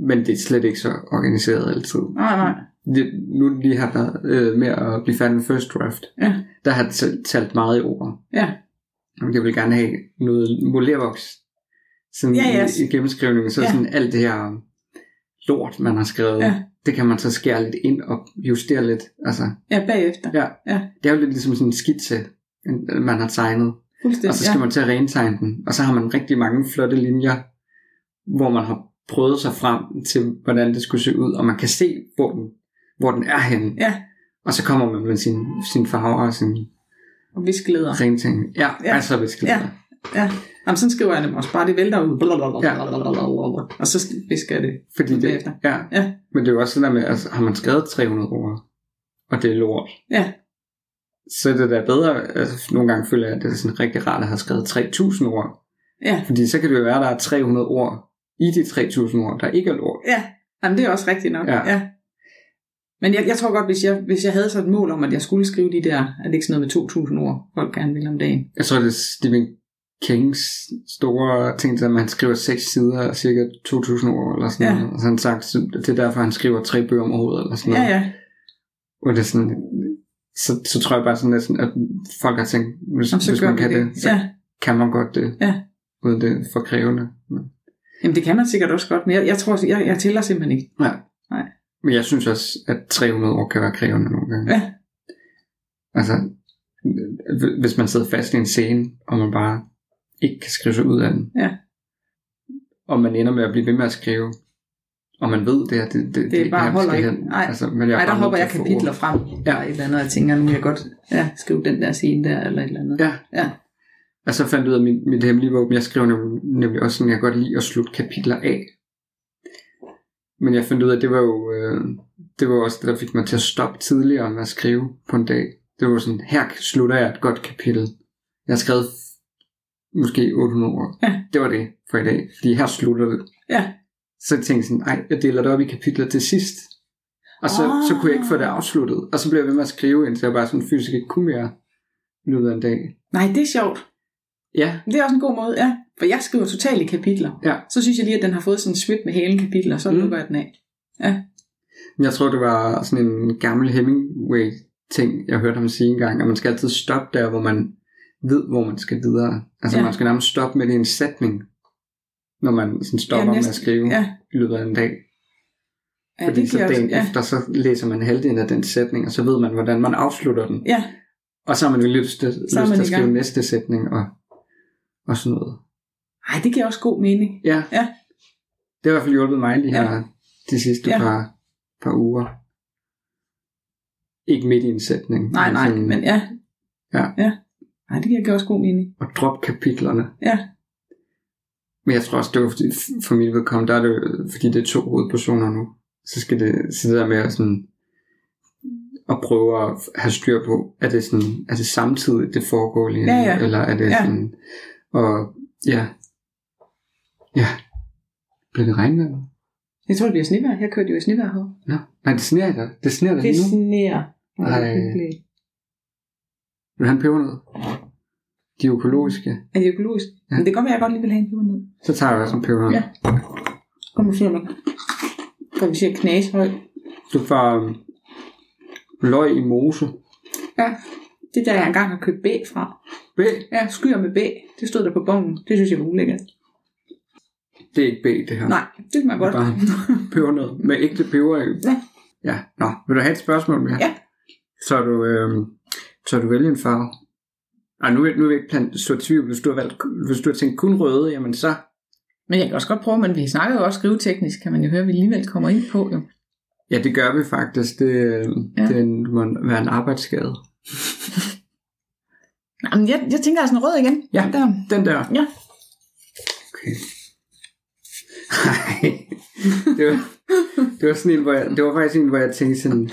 S2: Men det er slet ikke så organiseret altid.
S3: nej, nej.
S2: Det, nu lige har været øh, med at blive færdig med first draft,
S3: Ja.
S2: der har jeg talt- talt meget i ord.
S3: Ja.
S2: Og Jeg vil gerne have noget molervoks sådan
S3: Ja, ja.
S2: I, i gennemskrivningen, så
S3: Ja.
S2: ja. sådan alt det her lort, man har skrevet,
S3: Ja.
S2: det kan man så skære lidt ind og justere lidt. Altså,
S3: Ja, bagefter.
S2: ja.
S3: Ja.
S2: Det er jo lidt ligesom sådan en skitse, en- man har tegnet.
S3: Fuldstændig.
S2: Og så skal
S3: ja.
S2: man til at rentegne den. Og så har man rigtig mange flotte linjer, hvor man har prøvet sig frem til, hvordan det skulle se ud. Og man kan se, hvor den, hvor den er henne.
S3: Ja,
S2: Og så kommer man med sin, sin farver og sin
S3: og vi skal leder.
S2: renting. Ja,
S3: Ja.
S2: ja. altså hvis
S3: Ja. Ja. Jamen, sådan skriver jeg dem også bare, det vælter ud.
S2: Ja.
S3: Og så visker det.
S2: Fordi det,
S3: Bagefter.
S2: ja.
S3: Ja.
S2: Men det er jo også sådan der med, altså, har man skrevet 300 ord, og det er lort,
S3: Ja,
S2: så er det da bedre, altså nogle gange føler jeg, at det er sådan rigtig rart at have skrevet 3000 ord.
S3: ja,
S2: Fordi så kan det jo være, at der er 300 ord i de 3000 ord, der ikke er lort.
S3: ja. Jamen, det er også rigtigt nok.
S2: Ja.
S3: ja. Men jeg, jeg tror godt, hvis jeg, hvis jeg havde sådan et mål om, at jeg skulle skrive de der, er det ikke sådan noget med 2.000 ord, folk gerne vil om dagen.
S2: Jeg tror, det er Stephen Kings store ting, at man skriver seks sider og cirka 2000 ord, eller sådan
S3: Ja.
S2: noget. Og så har han sagt, så det er derfor, han skriver tre bøger om året, eller sådan
S3: Ja,
S2: noget.
S3: ja.
S2: Og det er sådan, så, så tror jeg bare sådan, at, sådan, at folk har tænkt, hvis,
S3: Jamen, så
S2: hvis
S3: gør
S2: man
S3: vi
S2: kan det, så
S3: Ja.
S2: kan man godt det,
S3: Ja.
S2: uden det er for krævende. Men,
S3: Jamen, det kan man sikkert også godt, men jeg, jeg tror, jeg, jeg tæller simpelthen ikke.
S2: ja.
S3: Nej.
S2: Men jeg synes også, at 300 år kan være krævende nogle gange.
S3: Ja.
S2: Altså, h- hvis man sidder fast i en scene, og man bare ikke kan skrive sig ud af den.
S3: Ja.
S2: Og man ender med at blive ved med at skrive, og man ved, det her, det, det, det,
S3: bare
S2: ikke her, vi
S3: holder
S2: skal
S3: ikke.
S2: hen.
S3: Nej.
S2: altså, men jeg er
S3: Nej, der
S2: bare nødt
S3: hopper
S2: til
S3: jeg
S2: at få
S3: kapitler
S2: ord.
S3: frem, ja. eller et eller andet, og jeg tænker, nu vil jeg godt ja, skrive den der scene der, eller et eller andet.
S2: Ja,
S3: ja.
S2: Og så fandt jeg ud af mit, mit hemmelige våben. Jeg skrev nem- nemlig også sådan, jeg godt lide at slutte kapitler af. Men jeg fandt ud af, at det var jo øh, det var også det, der fik mig til at stoppe tidligere med at skrive på en dag. Det var sådan, her slutter jeg et godt kapitel. Jeg har skrevet f- måske 800 ord.
S3: Ja.
S2: Det var det for i dag, fordi her slutter det.
S3: Ja.
S2: Så tænkte jeg sådan, nej, jeg deler det op i kapitler til sidst. Og så, oh. så kunne jeg ikke få
S3: Ah.
S2: det afsluttet. Og så blev jeg ved med at skrive, indtil jeg bare sådan fysisk ikke kunne mere i løbet af en dag.
S3: Nej, det er sjovt.
S2: Ja,
S3: Det er også en god måde, ja. For jeg skriver totalt i kapitler.
S2: Ja.
S3: Så synes jeg lige, at den har fået sådan en svip med halen kapitler, og så mm.
S2: Mm.
S3: lukker jeg den af.
S2: Jeg tror, det var sådan en gammel Hemingway-ting, jeg hørte ham sige engang, at man skal altid stoppe der, hvor man ved, hvor man skal videre. Altså
S3: Ja.
S2: ja. man skal nærmest stoppe med en sætning, når man sådan stopper ja, med
S3: næsten.
S2: at skrive
S3: Ja,
S2: i løbet af en dag.
S3: ja
S2: Fordi
S3: det
S2: så
S3: giver også,
S2: dagen
S3: ja,
S2: efter, så læser man halvdelen af den sætning, og så ved man, hvordan man afslutter den.
S3: ja,
S2: Og så har man jo lyst, til- lyst
S3: er man
S2: til at
S3: i gang.
S2: skrive næste sætning og, og sådan noget.
S3: Ej, det giver også god mening.
S2: Ja.
S3: Ja.
S2: Det har i hvert fald hjulpet mig de
S3: Ja.
S2: her de sidste
S3: Ja.
S2: ja. par, par uger. Ikke midt i en sætning.
S3: Nej, nej,
S2: sådan-
S3: men ja.
S2: Ja.
S3: ja. Nej, det giver også god mening.
S2: Og drop kapitlerne.
S3: Ja.
S2: Men jeg tror også, det var fordi, for mit vedkommende, der er det, jo- fordi det er to hovedpersoner nu. Så skal det sidde der med at sådan at prøve at have styr på, er det, sådan, er det samtidig det foregår lige nu,
S3: Ja, ja.
S2: eller er det
S3: Ja.
S2: sådan, og ja, ja, blev det regnvejr?
S3: Jeg tror, det bliver snevejr. Jeg kørte jo i snevejr her.
S2: Nå, nej, det sneer der. Det sneer der
S3: Det
S2: lige nu.
S3: sneer. Ej, hvor er det
S2: Ej.
S3: hyggeligt.
S2: Vil han peber noget? De er økologiske.
S3: Er det økologisk? Ja. Men det kan godt være, at jeg godt lige vil have en peber ned.
S2: Så tager jeg også en peber.
S3: Ja. Kom nu, siger man. Så vi siger knase højt.
S2: Du får um, løg i mose.
S3: Ja. Det der, jeg engang har købt B fra.
S2: B.
S3: Ja, skyer med B. Det stod der på bongen. Det synes jeg var ulækkert.
S2: Det er ikke B, det her.
S3: Nej, det kan man
S2: Det er
S3: godt.
S2: bare peber noget. Med ægte peber i.
S3: Ja.
S2: Ja. Nå, vil du have et spørgsmål mere?
S3: Ja.
S2: Så du, øh, så du vælge en farve. Ej, nu, er- nu er vi ikke blandt så tvivl. Hvis du har, valgt, hvis du har tænkt kun røde, jamen så...
S3: Men jeg kan også godt prøve, men vi snakker jo også skriveteknisk, kan man jo høre, at vi alligevel kommer ind på. Jo.
S2: Ja, det gør vi faktisk. Det, øh,
S3: Ja.
S2: det må være en arbejdsskade.
S3: Nej, men jeg, jeg tænker altså en rød igen.
S2: Ja.
S3: Der.
S2: Den der.
S3: Ja.
S2: Okay. Ej, det var, det var sådan en, hvor jeg, det var faktisk en, hvor jeg tænkte sådan,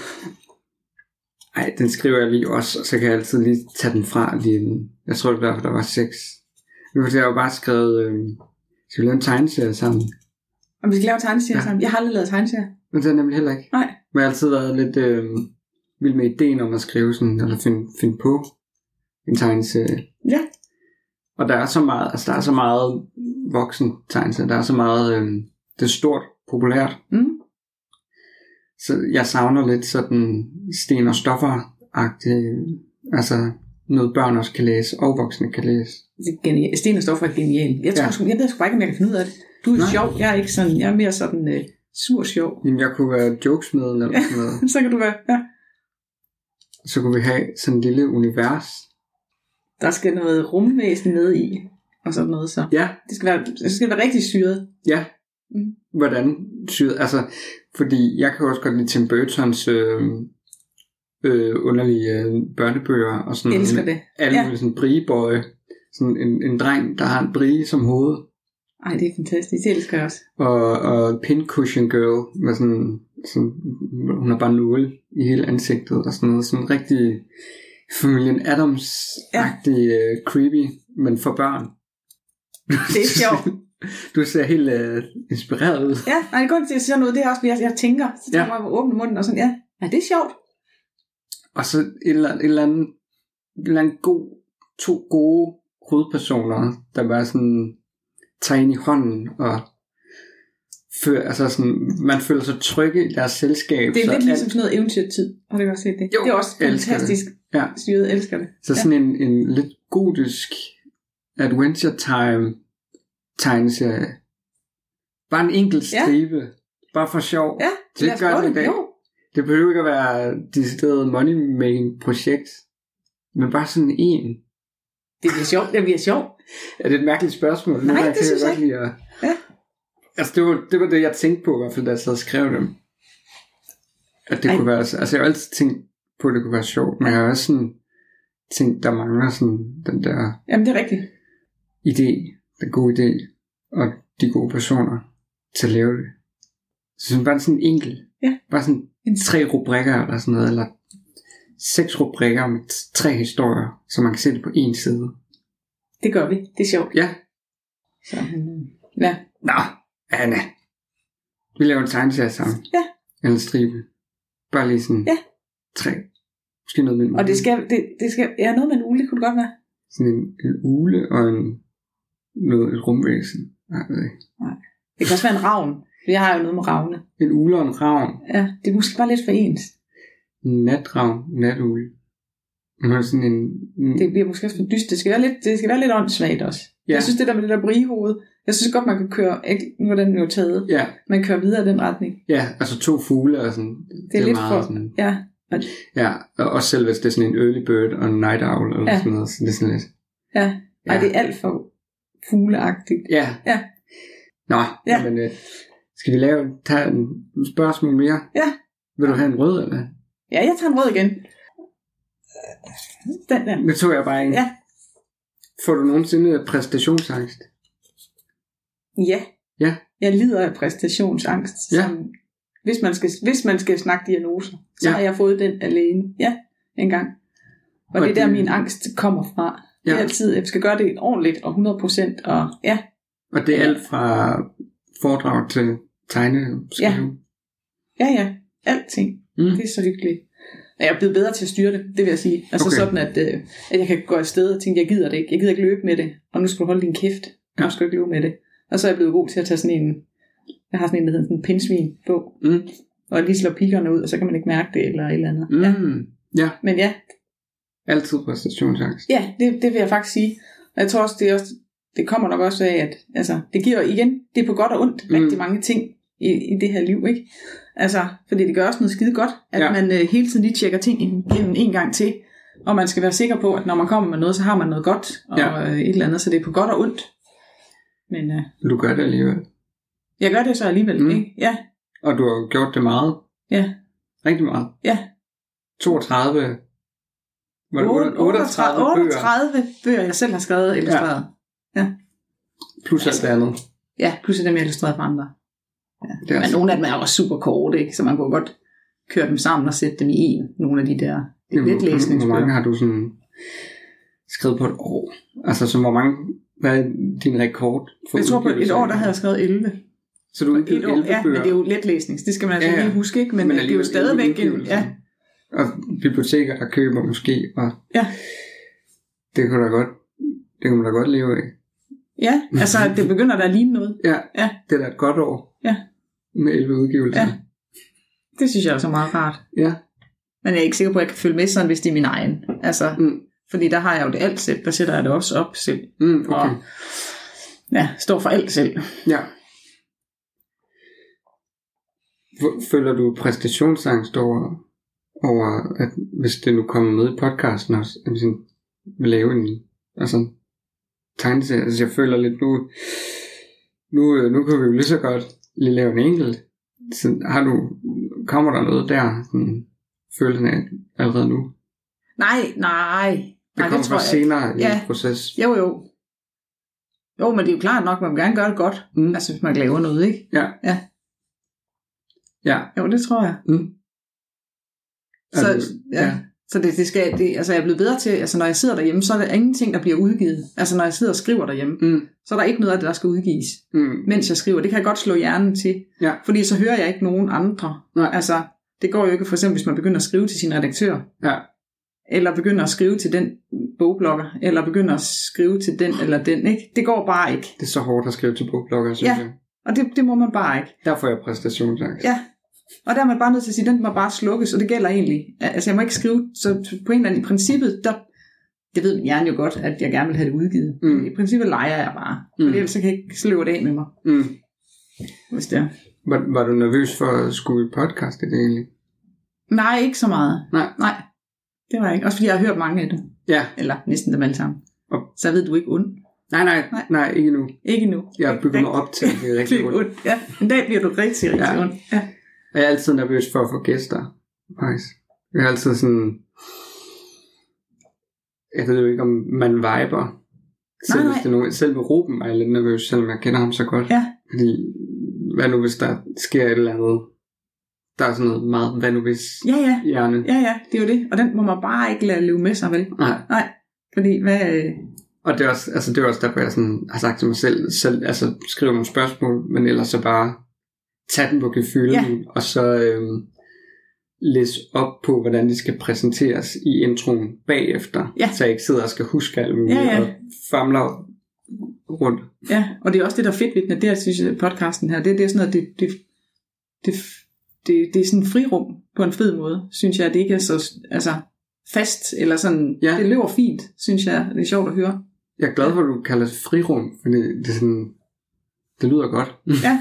S2: ej, den skriver jeg lige også, og så kan jeg altid lige tage den fra lige en, jeg tror det var, derfor, der var seks. Nu har jeg jo bare skrevet, øh, skal vi lave en tegneserie sammen?
S3: Og vi skal lave tegneserier
S2: Ja.
S3: sammen. Jeg har aldrig lavet tegneserier.
S2: Men det har jeg nemlig heller ikke.
S3: Nej.
S2: Men jeg har altid været lidt øh, vild med ideen om at skrive sådan, eller finde, finde på en tegneserie.
S3: Ja.
S2: Og der er så meget, altså der er så meget voksen tegneserie, der er så meget, øh, det er stort, populært.
S3: Mm.
S2: Så jeg savner lidt sådan sten og stoffer altså noget børn også kan læse, og voksne kan læse.
S3: Det er genial. Sten og stoffer er genial. Jeg, tror,
S2: Ja.
S3: ja. sgu, jeg ved sgu bare ikke, om jeg kan finde ud af det. Du er
S2: Nej.
S3: sjov. Jeg er ikke sådan, jeg er mere sådan øh, sur sjov.
S2: Jamen, jeg kunne være jokesmed eller sådan noget.
S3: Så kan du være, ja.
S2: Så kunne vi have sådan et lille univers.
S3: Der skal noget rumvæsen med i, og sådan noget så.
S2: Ja,
S3: Det skal være, det skal være rigtig syret.
S2: Ja.
S3: Mm.
S2: Hvordan syet? Altså, fordi jeg kan jo også godt lide Tim Burtons øh, øh, underlige øh, børnebøger og sådan
S3: Jeg elsker
S2: noget.
S3: det.
S2: Alle
S3: Ja.
S2: mulige sådan brigebøje. Sådan en, en dreng, der har en brie som hoved.
S3: Ej, det er fantastisk. Det elsker jeg også.
S2: Og, og pincushion girl med sådan, sådan, hun har bare nåle i hele ansigtet og sådan noget. Sådan rigtig familien Adams-agtig øh, creepy, men for børn.
S3: Det er sjovt.
S2: Du ser helt øh, inspireret ud.
S3: Ja, nej, grunden til, at jeg siger noget, det er også, fordi jeg, jeg tænker. Så tager
S2: Ja.
S3: jeg mig åbne munden og sådan, ja, ja det er sjovt.
S2: Og så et eller, et eller andet, et eller andet god, to gode hovedpersoner, der bare sådan tager ind i hånden og før, altså sådan, man føler sig trygge i deres selskab.
S3: Det er
S2: så
S3: lidt
S2: alt-
S3: ligesom sådan noget eventyrtid. Har du godt set det?
S2: Jo,
S3: det er også
S2: jeg elsker
S3: fantastisk
S2: Ja.
S3: syret. Jeg elsker det.
S2: Så sådan en, en lidt godisk Adventure Time tegneserie. Bare en enkelt
S3: Ja.
S2: stribe. Bare for sjov.
S3: Ja,
S2: Det
S3: lad os
S2: gør
S3: prøve
S2: det i dag.
S3: Jo,
S2: Det behøver ikke at være decideret money making projekt. Men bare sådan en.
S3: det bliver sjovt. Det bliver sjovt.
S2: Er det et mærkeligt spørgsmål?
S3: Nej,
S2: Nogle gange
S3: det
S2: kan
S3: synes jeg
S2: godt lide at...
S3: Ja.
S2: Altså, det var, det var det, jeg tænkte på, i hvert fald, da jeg sad og skrev dem. At det
S3: Ej.
S2: Ej. kunne være... Altså, jeg har altid tænkt på, at det kunne være sjovt. Men jeg har også sådan tænkt, der mangler sådan den der
S3: Jamen, det er rigtigt.
S2: idé, den gode idé, og de gode personer til at lave det. Så sådan bare sådan en enkelt.
S3: Ja.
S2: Bare sådan
S3: En
S2: tre rubrikker eller sådan noget, eller seks rubrikker med t- tre historier, så man kan se det på en side.
S3: Det gør vi. Det er sjovt.
S2: Ja.
S3: Så, øh, ja.
S2: Nå, Anna. Vi laver en tegneserie sammen.
S3: Ja.
S2: Eller en stribe. Bare lige sådan
S3: Ja.
S2: tre. Måske noget med en
S3: Og
S2: ugle.
S3: det skal, det, det skal, ja, noget med en ule, det kunne det godt være.
S2: Sådan en, en ule og en, noget, et rumvæsen. Nej, jeg ved ikke.
S3: Det kan også være en ravn. For jeg har jo noget med ravne.
S2: En ule og en ravn.
S3: Ja, det er måske bare lidt for ens.
S2: En natravn. Natugle. Hun er sådan en... en
S3: Det bliver måske også for dyst. Det skal være lidt, det skal være lidt åndssvagt også. Ja.
S2: Ja.
S3: Jeg synes, det der med det der briehoved, jeg synes godt, man kan køre, ikke, nu er den jo taget,
S2: Ja,
S3: man kører videre i den retning.
S2: ja, altså to fugle og sådan. Det
S3: er lidt for-
S2: sådan,
S3: Ja,
S2: Ja, og også selv hvis det er sådan en early bird og en night owl eller
S3: Ja.
S2: sådan noget. Så det er sådan lidt...
S3: ja.
S2: Ja.
S3: Ej, det er alt for fugleagtigt.
S2: Ja.
S3: Ja.
S2: Nå,
S3: Ja.
S2: ja. men øh, skal vi lave, tage en spørgsmål mere?
S3: Ja.
S2: Vil du have en rød, eller?
S3: Ja, jeg tager en rød igen. Den der.
S2: Nu tog jeg bare en.
S3: Ja.
S2: Får du nogensinde præstationsangst?
S3: Ja.
S2: Ja.
S3: Jeg lider af præstationsangst.
S2: Ja.
S3: Som, hvis, man skal, hvis man skal snakke diagnoser, så ja.
S2: Ja.
S3: har jeg fået den alene. Ja, en gang.
S2: Og
S3: Og, det er der,
S2: det-
S3: min angst kommer fra. Ja. Det
S2: Ja.
S3: er altid, at jeg skal gøre det ordentligt og 100%. Og, ja,
S2: Og det er alt fra foredrag til tegne.
S3: ja, ja. Alting.
S2: Mm.
S3: Det er så hyggeligt. Og Jeg er blevet bedre til at styre det, det vil jeg sige. Altså okay.
S2: Okay.
S3: sådan, at, øh, at jeg kan gå afsted og tænke, jeg gider det ikke. Jeg gider ikke løbe med det, og nu skal du holde din kæft. Ja. Nu
S2: Ja.
S3: skal du ikke løbe med det. Og så er jeg blevet god til at tage sådan en, jeg har sådan en, der hedder sådan en pindsvin bog,
S2: Mm.
S3: og lige slår pikkerne ud, og så kan man ikke mærke det, eller et eller andet.
S2: Mm.
S3: Ja.
S2: Ja. ja,
S3: Men ja,
S2: altid præstationsangst.
S3: ja det, det vil jeg faktisk sige. Og jeg tror også, det, er også, det kommer nok også af, at altså, det giver igen, det er på godt og ondt, mm.
S2: Mm.
S3: rigtig mange ting i, i det her liv, ikke? Altså, fordi det gør også noget skide godt, at ja.
S2: Ja.
S3: man øh, hele tiden lige tjekker ting igennem en gang til, og man skal være sikker på, at når man kommer med noget, så har man noget godt, og ja.
S2: Ja.
S3: øh, et eller andet, så det er på godt og ondt. Men øh,
S2: Du gør det alligevel.
S3: jeg gør det så alligevel, mm.
S2: Mm.
S3: ikke? Ja,
S2: Og du har gjort det meget.
S3: ja.
S2: Rigtig meget.
S3: Ja.
S2: 32. Var det 38, 38 bøger?
S3: 38 bøger, jeg selv har skrevet illustreret. Ja.
S2: Plus alt
S3: Altså,
S2: det andet.
S3: Ja, plus dem er illustreret for andre.
S2: Det er
S3: Men
S2: altså,
S3: nogle af dem er også super korte, ikke? så man kunne godt køre dem sammen og sætte dem i en, nogle af de der
S2: Jamen, hvor- Hvor mange
S3: letlæsningsbøger.
S2: har du sådan skrevet på et år? Altså, så hvor mange... Hvad er din rekord? for
S3: Jeg tror på et
S2: udgivelser?
S3: år, der havde jeg skrevet 11.
S2: Så du
S3: På
S2: har
S3: et
S2: udgivet
S3: år,
S2: 11
S3: ja, men
S2: bøger?
S3: det er jo letlæsning. Det skal man altså
S2: Ja,
S3: ja,
S2: ja.
S3: lige huske, ikke? Men, men det er jo
S2: alligevel
S3: stadigvæk
S2: elleve
S3: en...
S2: udgivelser.
S3: Ja,
S2: Og biblioteker og køber måske, og
S3: Ja.
S2: det kunne da godt, det kunne man da godt leve af.
S3: ja, altså det begynder der at ligne noget.
S2: Ja,
S3: Ja.
S2: det er da et godt år.
S3: Ja.
S2: Med 11 udgivelser.
S3: Ja. Det synes jeg også er meget rart.
S2: ja.
S3: Men jeg er ikke sikker på, at jeg kan følge med sådan, hvis det er min egen. Altså,
S2: Mm.
S3: fordi der har jeg jo det alt selv. Der sætter jeg det også op selv.
S2: Mm, okay.
S3: Og, ja, står for alt selv.
S2: Ja. Hvor- Føler du præstationsangst over, over at hvis det nu kommer med i podcasten også, at vi sådan vil lave en altså, tegneserie? Altså jeg føler lidt nu, nu, øh, nu kan vi jo lige så godt lige lave en enkelt. Så har du, kommer der noget der, sådan, følelsen af allerede nu?
S3: Nej, nej.
S2: Det
S3: nej,
S2: kommer
S3: tror
S2: først
S3: jeg ikke.
S2: senere i
S3: Ja.
S2: ja. proces.
S3: Jo, jo. Jo, men det er jo klart nok, man vil gerne gøre det godt.
S2: Mm.
S3: Altså, hvis man laver noget, ikke?
S2: Ja.
S3: Ja.
S2: Ja.
S3: Jo, det tror jeg.
S2: Mm. Er
S3: Så,
S2: du-
S3: ja.
S2: ja.
S3: så det, det skal, det, altså, jeg er blevet bedre til, altså, når jeg sidder derhjemme, så er der ingenting, der bliver udgivet. Altså, når jeg sidder og skriver derhjemme,
S2: Mm.
S3: så er der ikke noget af det, der skal udgives,
S2: Mm.
S3: mens jeg skriver. Det kan jeg godt slå hjernen til.
S2: Ja.
S3: Fordi så hører jeg ikke nogen andre.
S2: Nej.
S3: Altså, det går jo ikke, for eksempel, hvis man begynder at skrive til sin redaktør,
S2: Ja.
S3: eller begynder at skrive til den bogblogger, eller begynder at skrive til den eller den, ikke? Det går bare ikke.
S2: Det er så hårdt at skrive til bogblokker, synes
S3: Ja.
S2: ja. jeg.
S3: Og det, det må man bare ikke.
S2: Der får jeg præstationsangst.
S3: Ja. Og der er man bare nødt til at sige, at den må bare slukkes, og det gælder egentlig. Altså, jeg må ikke skrive, så på en eller anden, i princippet, der, det ved min hjerne jo godt, at jeg gerne vil have det udgivet.
S2: Mm.
S3: Men I princippet leger jeg bare, mm.
S2: Mm.
S3: for ellers så kan jeg ikke sløve det af med mig,
S2: Mm.
S3: hvis det er.
S2: Var, var du nervøs for at skulle i podcast i det egentlig?
S3: Nej, ikke så meget.
S2: Nej.
S3: Nej, det var jeg ikke. Også fordi jeg har hørt mange af dem,
S2: Ja.
S3: eller næsten dem alle sammen.
S2: Og-
S3: Så ved du ikke ondt.
S2: Nej, nej,
S3: Nej.
S2: nej, nej ikke nu.
S3: Ikke endnu.
S2: Jeg
S3: Ikke
S2: bygger mig
S3: rigtig-
S2: op til, at det er rigtig
S3: rigtig
S2: ondt.
S3: ondt. Ja, en dag bliver du rigtig, rigtig
S2: Ja.
S3: ondt. Ja.
S2: Og jeg er altid nervøs for at få gæster. Faktisk. Jeg er altid sådan... Jeg ved jo ikke, om man viber. Selv,
S3: Nej,
S2: Hvis det er nogen, selv med Ruben er jeg lidt nervøs, selvom jeg kender ham så godt.
S3: Ja.
S2: Fordi, hvad nu hvis der sker et eller andet? Der er sådan noget meget, hvad nu hvis
S3: ja, ja,
S2: hjerne?
S3: ja, ja, det er jo det. Og den må man bare ikke lade leve med sig, vel?
S2: Nej.
S3: Nej, fordi hvad... øh,
S2: Og det er også, altså det er også derfor, jeg sådan har sagt til mig selv, selv altså skrive nogle spørgsmål, men ellers så bare tage den på gefylden, ja. og så øhm, læse op på, hvordan de skal præsenteres i introen bagefter,
S3: Ja.
S2: så jeg ikke sidder og skal huske alt muligt,
S3: Ja, ja.
S2: og famler rundt.
S3: Ja, og det er også det, der er fedt ved den, at det her, synes jeg, podcasten her, det, det er sådan noget, det, det, det, det, det er sådan en frirum på en fed måde, synes jeg, at det ikke er så altså, fast, eller sådan, ja.
S2: Ja.
S3: det løber fint, synes jeg, det er sjovt at høre.
S2: Jeg er glad for, at du kalder det frirum, fordi det, er sådan, det lyder godt.
S3: Ja,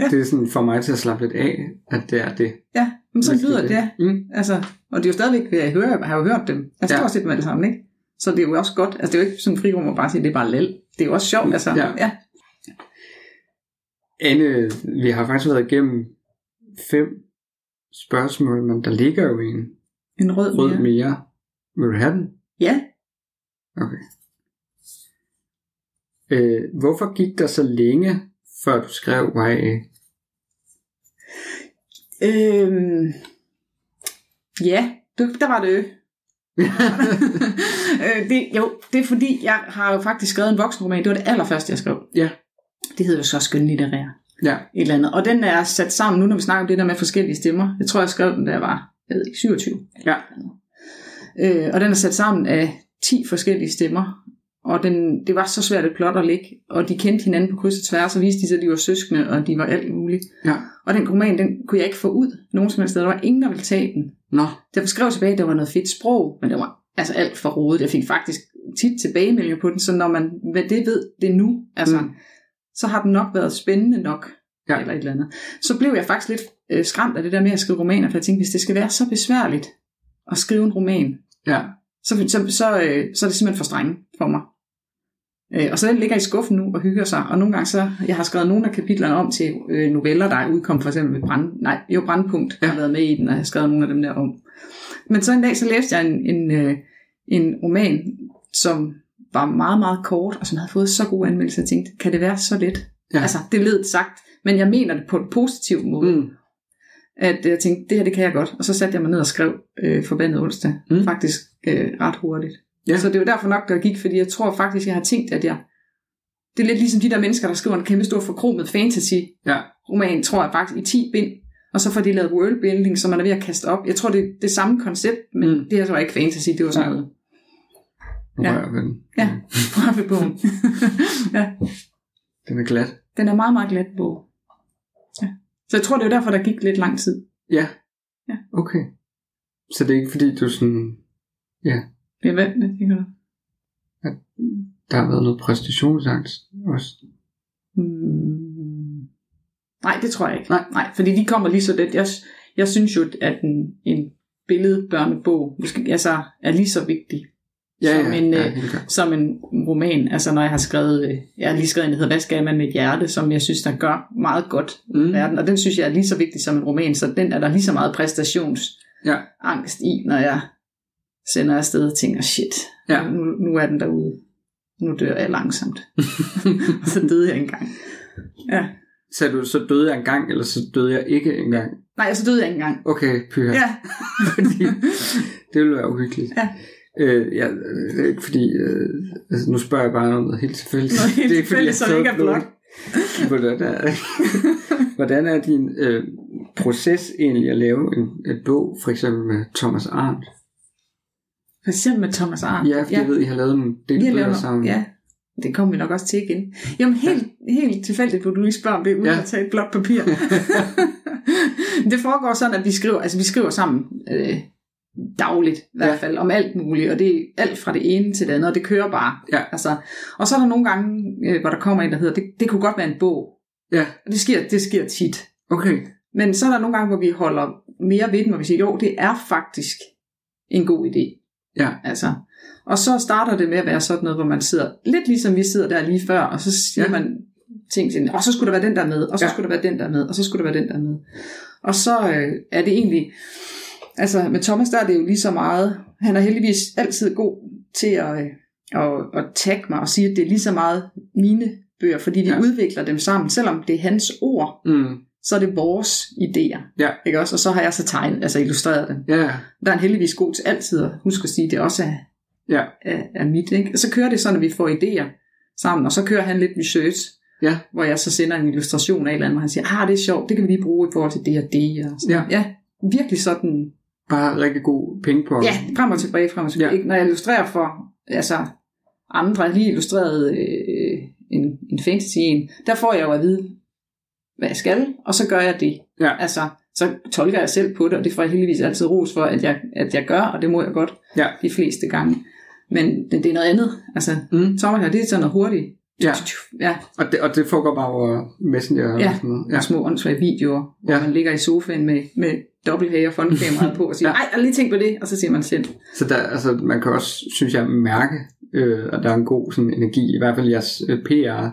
S3: Ja.
S2: Det er sådan for mig til at slappe lidt af, at det er det.
S3: ja, men sådan lyder det, ja.
S2: Mm.
S3: Altså, og det er jo stadigvæk, ved at jeg hører, har jo hørt dem, altså
S2: Ja.
S3: stort set med det samme, ikke? Så det er jo også godt, altså det er jo ikke sådan en frirum at bare sige, det er bare lal. Det er jo også sjovt, altså.
S2: Ja.
S3: ja.
S2: Anne, vi har faktisk været igennem fem spørgsmål, men der ligger jo en
S3: En rød,
S2: rød
S3: mere.
S2: mere. Vil du have den?
S3: Ja,
S2: Okay. Øh, hvorfor gik der så længe, før du skrev YA?
S3: Øhm, ja, du, der var det ø. øh, det, jo, det er fordi, jeg har jo faktisk skrevet en voksenroman. Det var det allerførste, jeg skrev.
S2: Ja.
S3: Det hedder jo så skønlitterær
S2: Ja,
S3: et eller andet. Og den er sat sammen nu, når vi snakker om det der med forskellige stemmer. Jeg tror, jeg skrev den, da jeg var jeg ved ikke, 27.
S2: Ja.
S3: Øh, og den er sat sammen af 10 forskellige stemmer. Og den, det var så svært et plot at lægge. Og de kendte hinanden på kryds og tværs, og viste de sig, at de var søskende, og de var alt muligt.
S2: ja.
S3: Og den roman, den kunne jeg ikke få ud nogen som helst sted. Der var ingen, der ville tage den.
S2: Nå,
S3: Der skrev tilbage, at der var noget fedt sprog, men det var altså alt for rodet. Jeg fik faktisk tit tilbagemeldinger på den, så når man hvad det ved det nu, altså, mm.
S2: Mm.
S3: så har den nok været spændende nok, ja.
S2: Ja.
S3: eller et eller andet. Så blev jeg faktisk lidt øh, skræmt af det der med at skrive romaner, for jeg tænkte, hvis det skal være så besværligt at skrive en roman,
S2: ja.
S3: så, så, så, øh, så er det simpelthen for strenge for mig. Øh, og så den ligger i skuffen nu og hygger sig, og nogle gange så, jeg har skrevet nogle af kapitlerne om til øh, noveller, der er udkommet for eksempel med Brand, nej, jo Brandpunkt, ja. har været med i den, og jeg har skrevet nogle af dem der om. Men så en dag, så læste jeg en, en, øh, en roman, som var meget, meget kort, og som havde fået så gode anmeldelser, jeg tænkte, kan det være så let? Ja.
S2: Ja.
S3: Altså, det lød sagt, men jeg mener det på en positiv måde
S2: Mm.
S3: at jeg tænkte, det her det kan jeg godt. Og så satte jeg mig ned og skrev øh, forbandet onsdag, mm.
S2: Mm.
S3: faktisk øh, ret hurtigt. Ja.
S2: Ja.
S3: Så det var derfor nok, der gik, fordi jeg tror faktisk, jeg har tænkt, at jeg... Det er lidt ligesom de der mennesker, der skriver en kæmpe stor forkromet fantasy-roman,
S2: Ja,
S3: tror jeg faktisk, i 10 bind. Og så får de lavet worldbuilding, som man er ved at kaste op. Jeg tror, det er det samme koncept, men mm.
S2: Mm.
S3: det her så var ikke fantasy, det var sådan
S2: Nej.
S3: noget.
S2: nu
S3: Ja.
S2: ja. rører vi den. Mm.
S3: Ja, prøvebogen. ja,
S2: Den er glat.
S3: den er meget, meget glat bog. Ja. Så jeg tror, det er derfor, der gik lidt lang tid.
S2: Ja.
S3: Ja.
S2: Okay. Så det er ikke fordi, du sådan,
S3: Jeg vandt det, tænker du?
S2: der har været noget præstationsangst også?
S3: Hmm. Nej, det tror jeg ikke.
S2: Nej.
S3: Nej fordi de kommer lige så let. Jeg, jeg synes jo, at en, en billedbørnebog måske, altså, er lige så vigtig
S2: Ja,
S3: Som
S2: ja,
S3: en,
S2: ja,
S3: øh,
S2: helt klart.
S3: som en roman. Altså når jeg har skrevet, øh, jeg har lige skrevet en, der hedder Hvad skal man med et hjerte, som jeg synes, der gør meget godt mm.
S2: Mm.
S3: verden. Og den synes jeg er lige så vigtig som en roman, så den er der lige så meget præstationsangst
S2: Ja,
S3: i, når jeg sender afsted og tænker, shit,
S2: ja.
S3: nu, nu er den derude. Nu dør jeg langsomt. og så døde jeg engang. Ja.
S2: Sagde du, så døde jeg engang, eller så døde jeg ikke engang?
S3: Nej, så døde jeg ikke engang.
S2: Okay, pyha.
S3: Ja.
S2: fordi det ville være uhyggeligt.
S3: Ja.
S2: Øh, ja, det er ikke fordi, øh, altså, nu spørger jeg bare om noget helt tilfældigt.
S3: Noget helt
S2: det er ikke, fordi
S3: tilfældigt,
S2: jeg
S3: som ikke er
S2: sad og blev-
S3: blot.
S2: Hvordan er, hvordan er din øh, proces egentlig at lave en, en bog, for eksempel med Thomas Arndt?
S3: For eksempel med Thomas Arndt.
S2: Ja, fordi ja. jeg ved, I har lavet en del
S3: vi har
S2: bøger
S3: lavet
S2: sammen.
S3: sammen. Ja, det kommer vi nok også til igen. Jamen helt, helt tilfældigt, hvor du lige spørger om det, uden ja.
S2: Ja.
S3: at tage et blåt papir. det foregår sådan, at vi skriver, altså vi skriver sammen øh, dagligt i hvert
S2: Ja.
S3: fald, om alt muligt, og det er alt fra det ene til det andet, og det kører bare.
S2: Ja.
S3: Altså, og så er der nogle gange, øh, hvor der kommer en, der hedder, det, det kunne godt være en bog.
S2: ja,
S3: Og det sker, det sker tit.
S2: okay.
S3: Men så er der nogle gange, hvor vi holder mere ved den, hvor vi siger, jo, det er faktisk en god idé.
S2: Ja.
S3: Altså. Og så starter det med at være sådan noget, hvor man sidder lidt ligesom vi sidder der lige før, og så siger ja.
S2: Ja.
S3: man ting til, og så skulle der være den der med, og så ja.
S2: Ja.
S3: skulle der være den der med, og så skulle der være den der med. Og så øh, er det egentlig, altså med Thomas der er det jo lige så meget, han er heldigvis altid god til at, øh, at, at tagge mig og sige, at det er lige så meget mine bøger, fordi de ja.
S2: Ja.
S3: udvikler dem sammen, selvom det er hans ord,
S2: Mm.
S3: så er det vores idéer.
S2: Ja.
S3: Ikke også? Og så har jeg så tegnet, altså illustreret dem.
S2: Ja,
S3: Der er en heldigvis god til altid at huske at sige, at det også er,
S2: ja,
S3: er, er mit. Ikke? Og så kører det sådan, at vi får idéer sammen, og så kører han lidt research,
S2: ja,
S3: hvor jeg så sender en illustration af et eller andet, og han siger, ah, det er sjovt, det kan vi lige bruge i forhold til det og det. Og sådan.
S2: Ja.
S3: ja, virkelig sådan,
S2: bare rigtig god pingpong.
S3: ja, frem og tilbage, frem og tilbage.
S2: Ja.
S3: Ikke? Når jeg illustrerer for, altså, andre, lige illustreret øh, en, en fantasy en, der får jeg jo at vide, hvad jeg skal, og så gør jeg det.
S2: Ja.
S3: Altså, så tolker jeg selv på det, og det får jeg heldigvis altid ros for, at jeg, at jeg gør, og det må jeg godt
S2: Ja.
S3: de fleste gange. Men det, det er noget andet. Altså,
S2: Mm.
S3: tommer her, det er sådan noget hurtigt.
S2: Ja.
S3: Ja,
S2: Og det, og det foregår bare over Messenger og
S3: Ja.
S2: sådan noget.
S3: ja. små åndssvage videoer, hvor
S2: Ja.
S3: ja. man ligger i sofaen med, med dobbelthager frontkameraet på og siger,
S2: Ja.
S3: nej, jeg har lige tænkt på det, og så siger man shit.
S2: Så der, altså, man kan også, synes jeg, mærke, øh, at der er en god sådan, energi, i hvert fald i jeres øh, PR,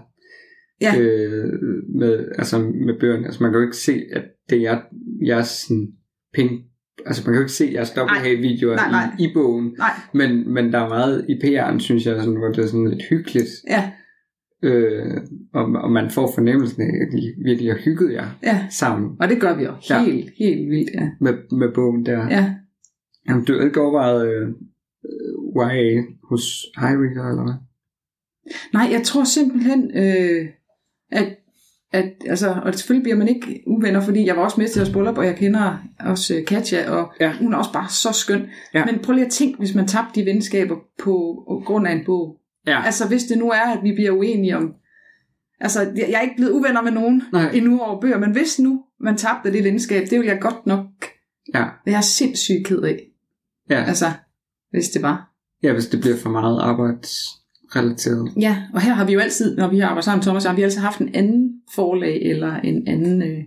S3: Ja.
S2: øh, med, altså, med bøgerne. Altså, man kan jo ikke se, at det er jer- jeres sådan, penge. Altså, man kan jo ikke se jeres dobbelthage-videoer
S3: Nej, nej.
S2: i, i bogen,
S3: Nej,
S2: men, men der er meget i PR'en, synes jeg, sådan, hvor det er sådan lidt hyggeligt,
S3: ja,
S2: øh, og, og man får fornemmelsen af, at I virkelig har hygget jer
S3: ja.
S2: sammen
S3: Og det gør vi jo
S2: Ja.
S3: helt, ja. helt vildt, ja.
S2: med, med bogen der.
S3: ja.
S2: Jamen, du har ikke overvejet øh, øh, YA hos Highreader, eller hvad?
S3: Nej, jeg tror simpelthen, øh, at, at altså, og selvfølgelig bliver man ikke uvenner, fordi jeg var også med til at spille op, og jeg kender også øh, Katja, og
S2: Ja.
S3: hun er også bare så skøn.
S2: Ja.
S3: Men prøv lige at tænke, hvis man tabte de venskaber på grund af en bog.
S2: Ja.
S3: Altså, hvis det nu er, at vi bliver uenige om... Altså, jeg jeg er ikke blevet uvenner med nogen
S2: Nej.
S3: endnu over bøger, men hvis nu man tabte det venskab, det ville jeg godt nok
S2: Ja,
S3: være sindssygt ked af.
S2: ja. Altså,
S3: Altså, hvis det var.
S2: ja, hvis det bliver for meget arbejdsrelateret.
S3: Ja, og her har vi jo altid, når vi har arbejdet sammen, Thomas, har vi altid haft en anden forlag eller en anden... Øh... Men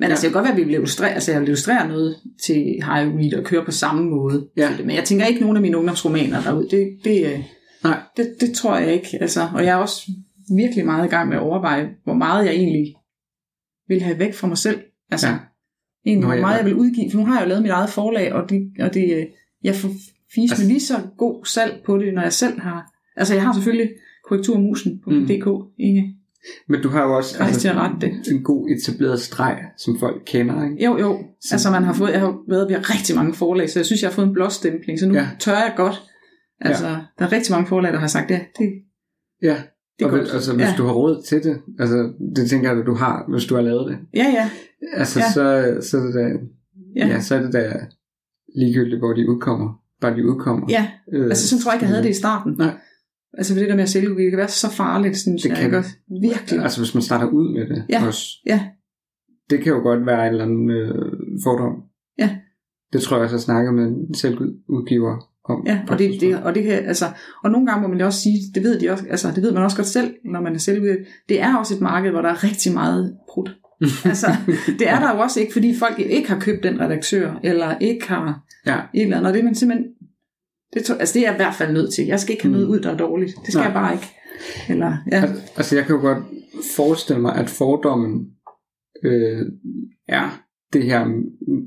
S3: ja. altså,
S2: Ja.
S3: det kan godt være, at vi vil illustrere, altså, jeg vil illustrere noget til Harry Reid og køre på samme måde.
S2: Ja.
S3: til det. Men jeg tænker ikke nogen af mine ungdomsromaner derud. Det, det, øh,
S2: Nej.
S3: det, det tror jeg ikke. Altså, og jeg er også virkelig meget i gang med at overveje, hvor meget jeg egentlig vil have væk fra mig selv. Altså,
S2: Ja.
S3: ja. egentlig,
S2: Nå,
S3: hvor
S2: ja.
S3: meget jeg vil udgive. For nu har jeg jo lavet mit eget forlag, og, det, og det, øh, jeg får fis
S2: Altså-
S3: med lige så god salg på det, når jeg selv har... Altså, jeg har selvfølgelig korrekturmusen på
S2: Mm.
S3: mm. DK, Inge.
S2: Men du har jo også altså,
S3: Rejs til at rette det.
S2: en god etableret streg, som folk kender, ikke?
S3: Jo, jo. Altså, man har fået, jeg har jo været ved rigtig mange forlag, så jeg synes, jeg har fået en blåstempling, så nu
S2: Ja.
S3: ja. tør jeg godt. Altså, ja. der er rigtig mange forlag, der har sagt, ja, det,
S2: Ja.
S3: det er
S2: og hvis,
S3: godt.
S2: altså, hvis
S3: ja.
S2: du har råd til det, altså, det tænker jeg, at du har, hvis du har lavet det.
S3: ja, ja,
S2: Altså,
S3: Ja.
S2: så, så, er det da, ja.
S3: ja.
S2: Ja, så er det da ligegyldigt, hvor de udkommer. Bare de udkommer.
S3: ja.
S2: Øh,
S3: Altså, sådan tror jeg ikke, jeg havde det i starten.
S2: Nej.
S3: Altså, for det der med at sælge udgivet, det kan være så farligt, synes
S2: Det
S3: jeg.
S2: kan
S3: ikke
S2: det.
S3: også? Virkelig.
S2: Altså hvis man starter ud med det
S3: Ja,
S2: også.
S3: ja.
S2: Det kan jo godt være en eller anden øh, fordom.
S3: Ja.
S2: Det tror jeg også, jeg snakkede med en selvudgiver om.
S3: Ja,
S2: på
S3: og
S2: et
S3: det,
S2: tidspunkt.
S3: det, og det kan, altså, og nogle gange må man jo også sige, det ved, de også, altså, det ved man også godt selv, når man er selvudgivet, det er også et marked, hvor der er rigtig meget prut. altså, det er der jo også ikke, fordi folk ikke har købt den redaktør, eller ikke har
S2: Ja.
S3: et eller andet, og det er man simpelthen, det, tror, altså, det er jeg i hvert fald nødt til. Jeg skal ikke have noget
S2: Mm.
S3: ud, der er dårligt. Det skal
S2: Nej.
S3: Nej. jeg bare ikke. Eller, ja.
S2: Al- Altså jeg kan jo godt forestille mig, at fordommen øh, er det her... mm,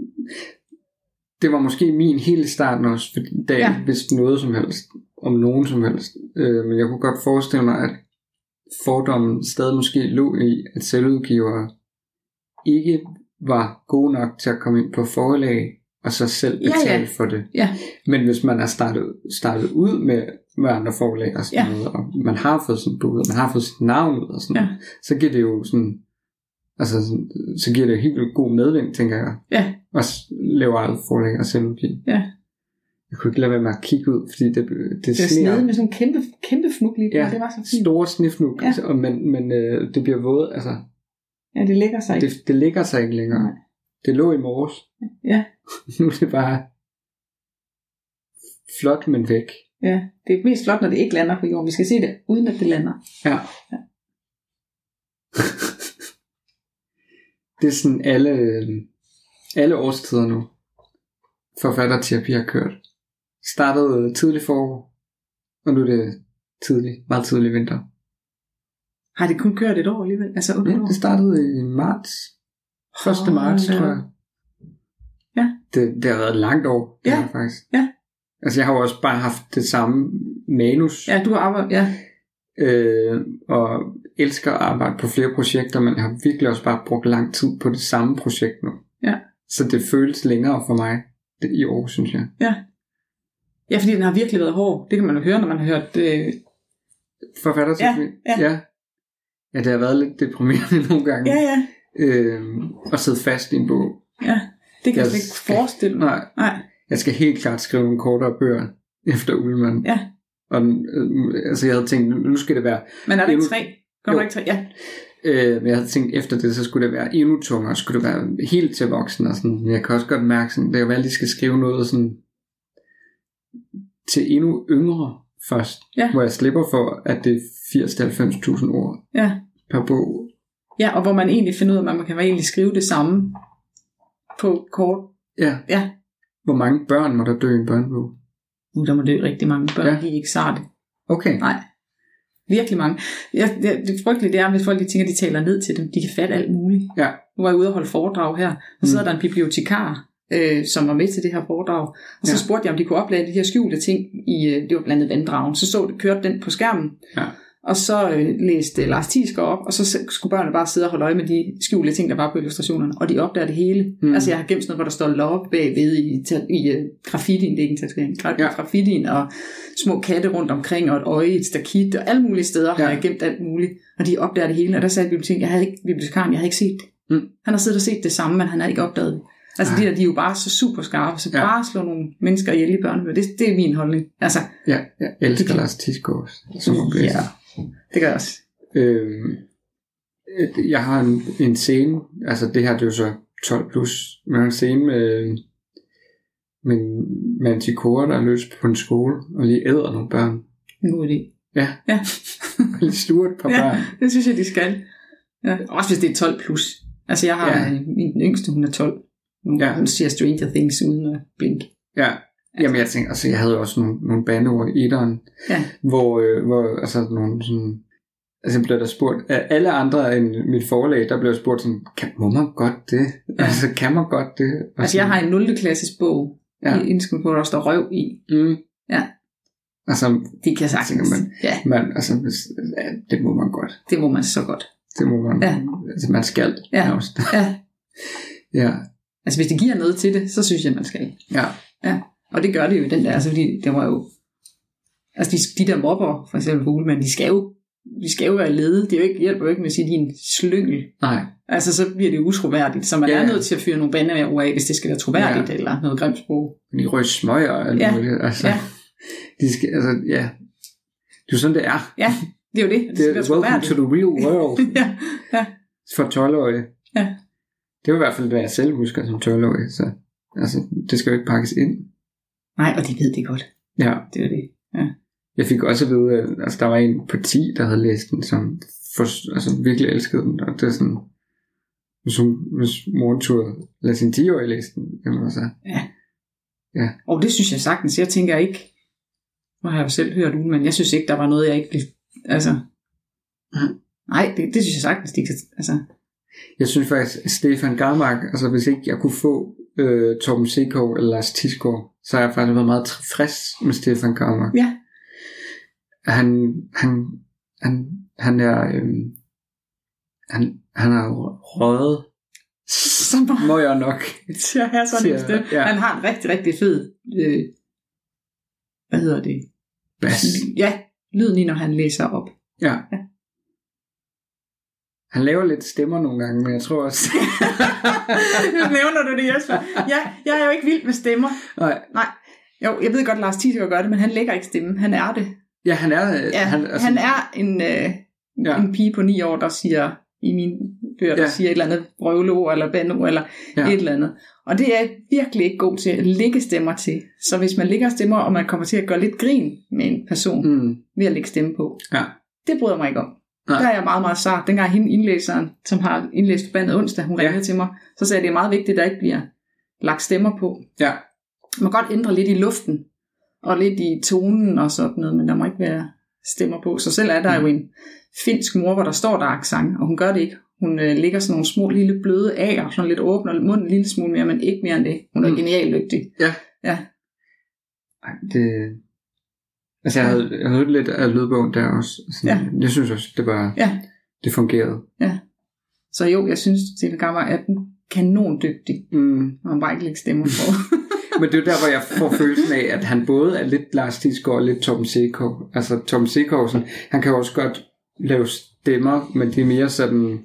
S2: Det var måske min helt i starten også, fordi da jeg
S3: Ja.
S2: ikke vidste noget som helst, om nogen som helst. Øh, men jeg kunne godt forestille mig, at fordommen stadig måske lå i, at selvudgivere ikke var gode nok til at komme ind på forlag, og så selv
S3: Ja,
S2: betale
S3: ja.
S2: for det.
S3: Ja.
S2: Men hvis man er startet, startet ud med, med andre forlag og sådan
S3: Ja.
S2: noget, og man har fået sin bud, og man har fået sit navn ud og sådan
S3: Ja.
S2: noget, så giver det jo sådan, altså sådan, så giver det helt vildt god medvind, tænker jeg.
S3: Ja.
S2: Og s- laver eget forlag og selvudgive.
S3: Ja.
S2: Jeg kunne ikke lade være med at kigge ud, fordi det, det, det
S3: Det er
S2: sner
S3: snedet med sådan en kæmpe, kæmpe fnug lige på.
S2: Ja.
S3: Ja. Det var så fint.
S2: store snifnuk,
S3: Ja.
S2: ja. og, men, men øh, det bliver våde, altså
S3: Ja, det lægger sig ikke.
S2: det, det ligger sig ikke længere.
S3: Nej.
S2: Det lå i morges.
S3: Ja.
S2: nu er det bare flot, men væk.
S3: Ja, det er mest flot, når det ikke lander på jorden. Vi skal se det, uden at det lander.
S2: Ja. det er sådan alle, øh, alle årstider nu. Forfatterterapi har kørt. Startede øh, tidlig forår, og nu er det tidlig, meget tidlig vinter.
S3: Har det kun kørt et år alligevel? Altså, okay.
S2: Ja, det startede i marts. 1. marts,
S3: Hold da
S2: tror
S3: op.
S2: jeg.
S3: Ja.
S2: Det, det har været et langt år, det
S3: Ja.
S2: her, faktisk.
S3: Ja.
S2: Altså, jeg har jo også bare haft det samme manus,
S3: Ja, du har arbejdet, ja.
S2: øh, og elsker at arbejde på flere projekter, men jeg har virkelig også bare brugt lang tid på det samme projekt nu.
S3: Ja.
S2: Så det føles længere for mig det, i år, synes jeg.
S3: Ja, fordi den har virkelig været hård. Det kan man jo høre, når man har hørt... Øh...
S2: Forfatter til
S3: Ja, ja.
S2: ja. Ja, det har været lidt deprimerende nogle gange.
S3: Ja, ja.
S2: Øh, at sidde fast i en bog.
S3: Det
S2: Jeg
S3: kan jeg slet ikke
S2: skal-
S3: forestille mig.
S2: Nej,
S3: Nej.
S2: Jeg skal helt klart skrive nogle kortere bøger efter Ullmann.
S3: Ja.
S2: Og, den, øh, altså jeg havde tænkt, nu skal det være
S3: Men er der ikke
S2: Endnu-
S3: tre? Kommer
S2: Jo.
S3: der ikke tre? Ja.
S2: Øh, men jeg havde tænkt, efter det, så skulle det være endnu tungere, skulle det være helt til voksen, og sådan, jeg kan også godt mærke, sådan, det er jo valgt, at de skal skrive noget sådan, til endnu yngre først,
S3: Ja.
S2: hvor jeg slipper for, at det er 80-90.000 ord
S3: ja.
S2: per bog.
S3: Ja, og hvor man egentlig finder ud af, at man kan egentlig skrive det samme på kort.
S2: Ja.
S3: Ja.
S2: Hvor mange børn må der dø i en børnebog?
S3: Nu Uh, der må dø rigtig mange børn,
S2: Ja.
S3: ja. de er ikke sarte.
S2: Okay.
S3: Nej. Virkelig mange. Jeg, jeg, det frygtelige det er, hvis folk de tænker, at de taler ned til dem. De kan fatte alt muligt.
S2: Ja.
S3: Nu var jeg ude og holde foredrag her, og
S2: Mm.
S3: så sidder der en bibliotekar, øh, som var med til det her foredrag. Og så
S2: Ja.
S3: ja. spurgte jeg, om de kunne oplade de her skjulte ting i, øh, det var blandt andet vanddragen. Så så det, kørte den på skærmen.
S2: Ja.
S3: Og så øh, læste Lars Thiesgaard op, og så s- skulle børnene bare sidde og holde øje med de skjulte ting, der var på illustrationerne. Og de opdager det hele.
S2: Mm.
S3: Mm. Altså jeg har gemt sådan noget, hvor der står love bagved i, ta- i øh, graffitien, det er ikke en tatovering, gra-
S2: Ja.
S3: ja. graffitien, og små katte rundt omkring, og et øje, i et stakit, og alle mulige steder ja.
S2: Ja.
S3: har jeg gemt alt muligt. Og de opdager det hele, og der sagde biblioteken, jeg havde ikke, bibliotekaren, jeg havde ikke set det.
S2: Mm.
S3: Han har siddet og set det samme, men han har ikke opdaget det. Altså
S2: Ej.
S3: de der, de er jo bare så super skarpe, så
S2: Ja.
S3: ja. bare slå nogle mennesker ihjel i børnebøger. Det, det er min holdning. Altså,
S2: Ja, jeg elsker Lars Tisgaard som oplæser.
S3: Ja. det gør jeg også.
S2: Øhm, et- jeg har en, en scene, altså det her det er jo så 12 plus, men jeg har en scene med, øh, med en manticore, der er løs på en skole, og lige æder nogle børn.
S3: En god idé.
S2: Ja,
S3: Ja,
S2: og lige sluger et par
S3: Ja.
S2: børn.
S3: det synes jeg, de skal. Ja. Også hvis det er 12 plus. Altså jeg har
S2: Ja.
S3: ja. min den yngste, hun er 12. Hun,
S2: Ja.
S3: ja. hun siger Stranger Things uden at blinke.
S2: Ja, jamen jeg tænker, altså jeg havde jo også nogle, nogle bandeord i etteren,
S3: Ja.
S2: hvor, øh, hvor altså nogle sådan, altså jeg blev der spurgt, af alle andre end mit forlag, der blev jeg spurgt sådan, kan, må man godt det? Ja.
S3: Ja.
S2: Altså kan man godt det? Og
S3: Altså jeg
S2: sådan-
S3: har en 0. klasses bog,
S2: Ja.
S3: ja. i indskud, hvor der står røv i.
S2: Mm,
S3: Ja.
S2: Altså,
S3: Det kan sagtens.
S2: Tænker man.
S3: Ja,
S2: Men altså, hvis- ja, det må man godt.
S3: det må man så godt.
S2: Det må man.
S3: Ja.
S2: Altså, man skal.
S3: Ja.
S2: nærmest.
S3: Ja.
S2: ja.
S3: Altså hvis det giver noget til det, så synes jeg, man skal.
S2: Ja.
S3: Og det gør det jo i den der, altså fordi det var jo, altså de, de der mobber, for eksempel på Ulemann, de skal jo, de skal jo være ledet. Det er jo ikke, hjælper jo ikke med at sige, de er en slyngel.
S2: Nej.
S3: Altså så bliver det utroværdigt, så man
S2: Ja,
S3: ja,
S2: ja.
S3: er nødt til at fyre nogle bander over af, hvis det skal være troværdigt,
S2: Ja.
S3: ja. eller noget grimt sprog.
S2: De røg smøger og alt
S3: Ja.
S2: muligt. Altså,
S3: Ja.
S2: De skal, altså, ja. Det er jo sådan, det er.
S3: Ja, det er jo det. Det,
S2: Det
S3: skal
S2: er
S3: være
S2: welcome to
S3: troværdigt.
S2: the real world
S3: ja,
S2: for 12-årige.
S3: Ja.
S2: Det var i hvert fald, hvad jeg selv husker som 12-årig. Så, altså, det skal jo ikke pakkes ind.
S3: nej, og de ved det godt.
S2: Ja.
S3: Det er jo det.
S2: Jeg fik også at vide, at altså, der var en på 10, der havde læst den, som for, altså, virkelig elskede den. Og det er sådan, hvis, hun, hvis moren turde lade sin 10-årige læse den, jamen altså,
S3: Og det synes jeg sagtens. Jeg tænker ikke, nu har jeg jo selv hørt ugen, men jeg synes ikke, der var noget, jeg ikke blev... Altså,
S2: Mm.
S3: nej, det, det synes jeg sagtens, de kan... Altså,
S2: Jeg synes faktisk, at Stefan Garmark, altså hvis ikke jeg kunne få øh, Torben Sekov eller Lars Tisgaard, så har jeg faktisk været meget tilfreds med Stefan Garmark.
S3: Ja.
S2: Han, han, han, han er, øh, han, han er jo røget.
S3: så meget
S2: Må jeg nok.
S3: til at have sådan en
S2: Siger-
S3: stemme.
S2: ja.
S3: Han har en rigtig, rigtig fed... Øh, hvad hedder det?
S2: Bas.
S3: Ja, lyden i, når han læser op.
S2: Ja.
S3: Ja.
S2: Han laver lidt stemmer nogle gange, men jeg tror også...
S3: Nu nævner du det, Jesper. Ja, jeg er jo ikke vild med stemmer.
S2: Nej,
S3: Jo, jeg ved godt, Lars Tisgaard gør det, men han lægger ikke stemmen. Han er det.
S2: ja, han er... øh,
S3: Ja, han, altså, han er en, øh,
S2: Ja.
S3: ja. en pige på ni år, der siger i mine bøger, der
S2: Ja.
S3: ja. siger et eller andet brøvleord eller bandeord eller
S2: Ja.
S3: ja. et eller andet. Og det er jeg virkelig ikke god til at lægge stemmer til. Så hvis man lægger stemmer, og man kommer til at gøre lidt grin med en person mm.
S2: Mm,
S3: ved at lægge stemme på,
S2: ja.
S3: det bryder jeg mig ikke om.
S2: Nej.
S3: Nej. Der er jeg meget, meget sart. Dengang hende indlæseren, som har indlæst bandet onsdag, hun
S2: Ja.
S3: ringede til mig, så sagde jeg, at det er meget vigtigt, at der ikke bliver lagt stemmer på.
S2: Ja.
S3: Man må godt ændre lidt i luften, og lidt i tonen og sådan noget, men der må ikke være stemmer på. Så selv er der jo en finsk mor, hvor der står der accent, og hun gør det ikke. Hun øh, ligger sådan nogle små lille bløde af, og sådan lidt åbner munden en lille smule mere, men ikke mere end det. Hun er
S2: Mm.
S3: mm. genialt dygtig.
S2: Ja.
S3: Ja.
S2: Ej, det... Altså, jeg havde, jeg havde lidt af lydbogen der også. Sådan, ja. Jeg synes også, det var...
S3: Ja.
S2: Det fungerede.
S3: Så jo, jeg synes, Stine Gammer er kanon dygtig,
S2: Mm.
S3: når man bare ikke lægger stemmer på.
S2: Men det er jo der, hvor jeg får følelsen af, at han både er lidt Lars Tisgaard og lidt Tom Sekov. Altså, Tom Sekov, sådan, han kan jo også godt lave stemmer, men det er mere sådan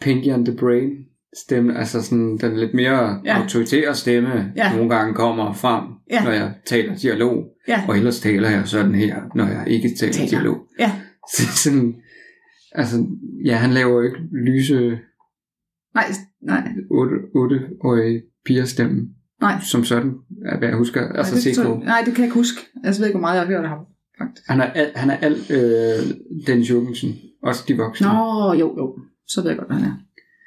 S2: Pinky and the Brain stemme, altså sådan den lidt mere
S3: Ja.
S2: ja. autoritære stemme,
S3: Ja.
S2: ja. nogle gange kommer frem,
S3: Ja.
S2: ja. når jeg taler dialog.
S3: Ja.
S2: Og ellers taler jeg sådan her, når jeg ikke taler,
S3: Taler.
S2: taler. dialog.
S3: Ja.
S2: Så sådan, altså, ja, han laver jo ikke lyse
S3: Nej, nej,
S2: 8- 8-årige pigerstemme,
S3: nej.
S2: som sådan, er hvad jeg husker. Altså,
S3: nej, det,
S2: Seco.
S3: tror- nej, det kan jeg ikke huske. Altså, Jeg ved ikke, hvor meget jeg har hørt af ham. Faktisk.
S2: Han er alt, han er alt øh, Dennis Jorgensen, også de voksne.
S3: Nå, jo, jo. Så ved jeg godt, hvad han er.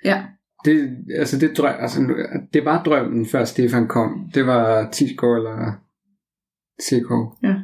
S3: Ja,
S2: Det, altså det, drøm, altså, det var drømmen, før Stefan kom. Det var Tisgaard eller Sikov.
S3: det er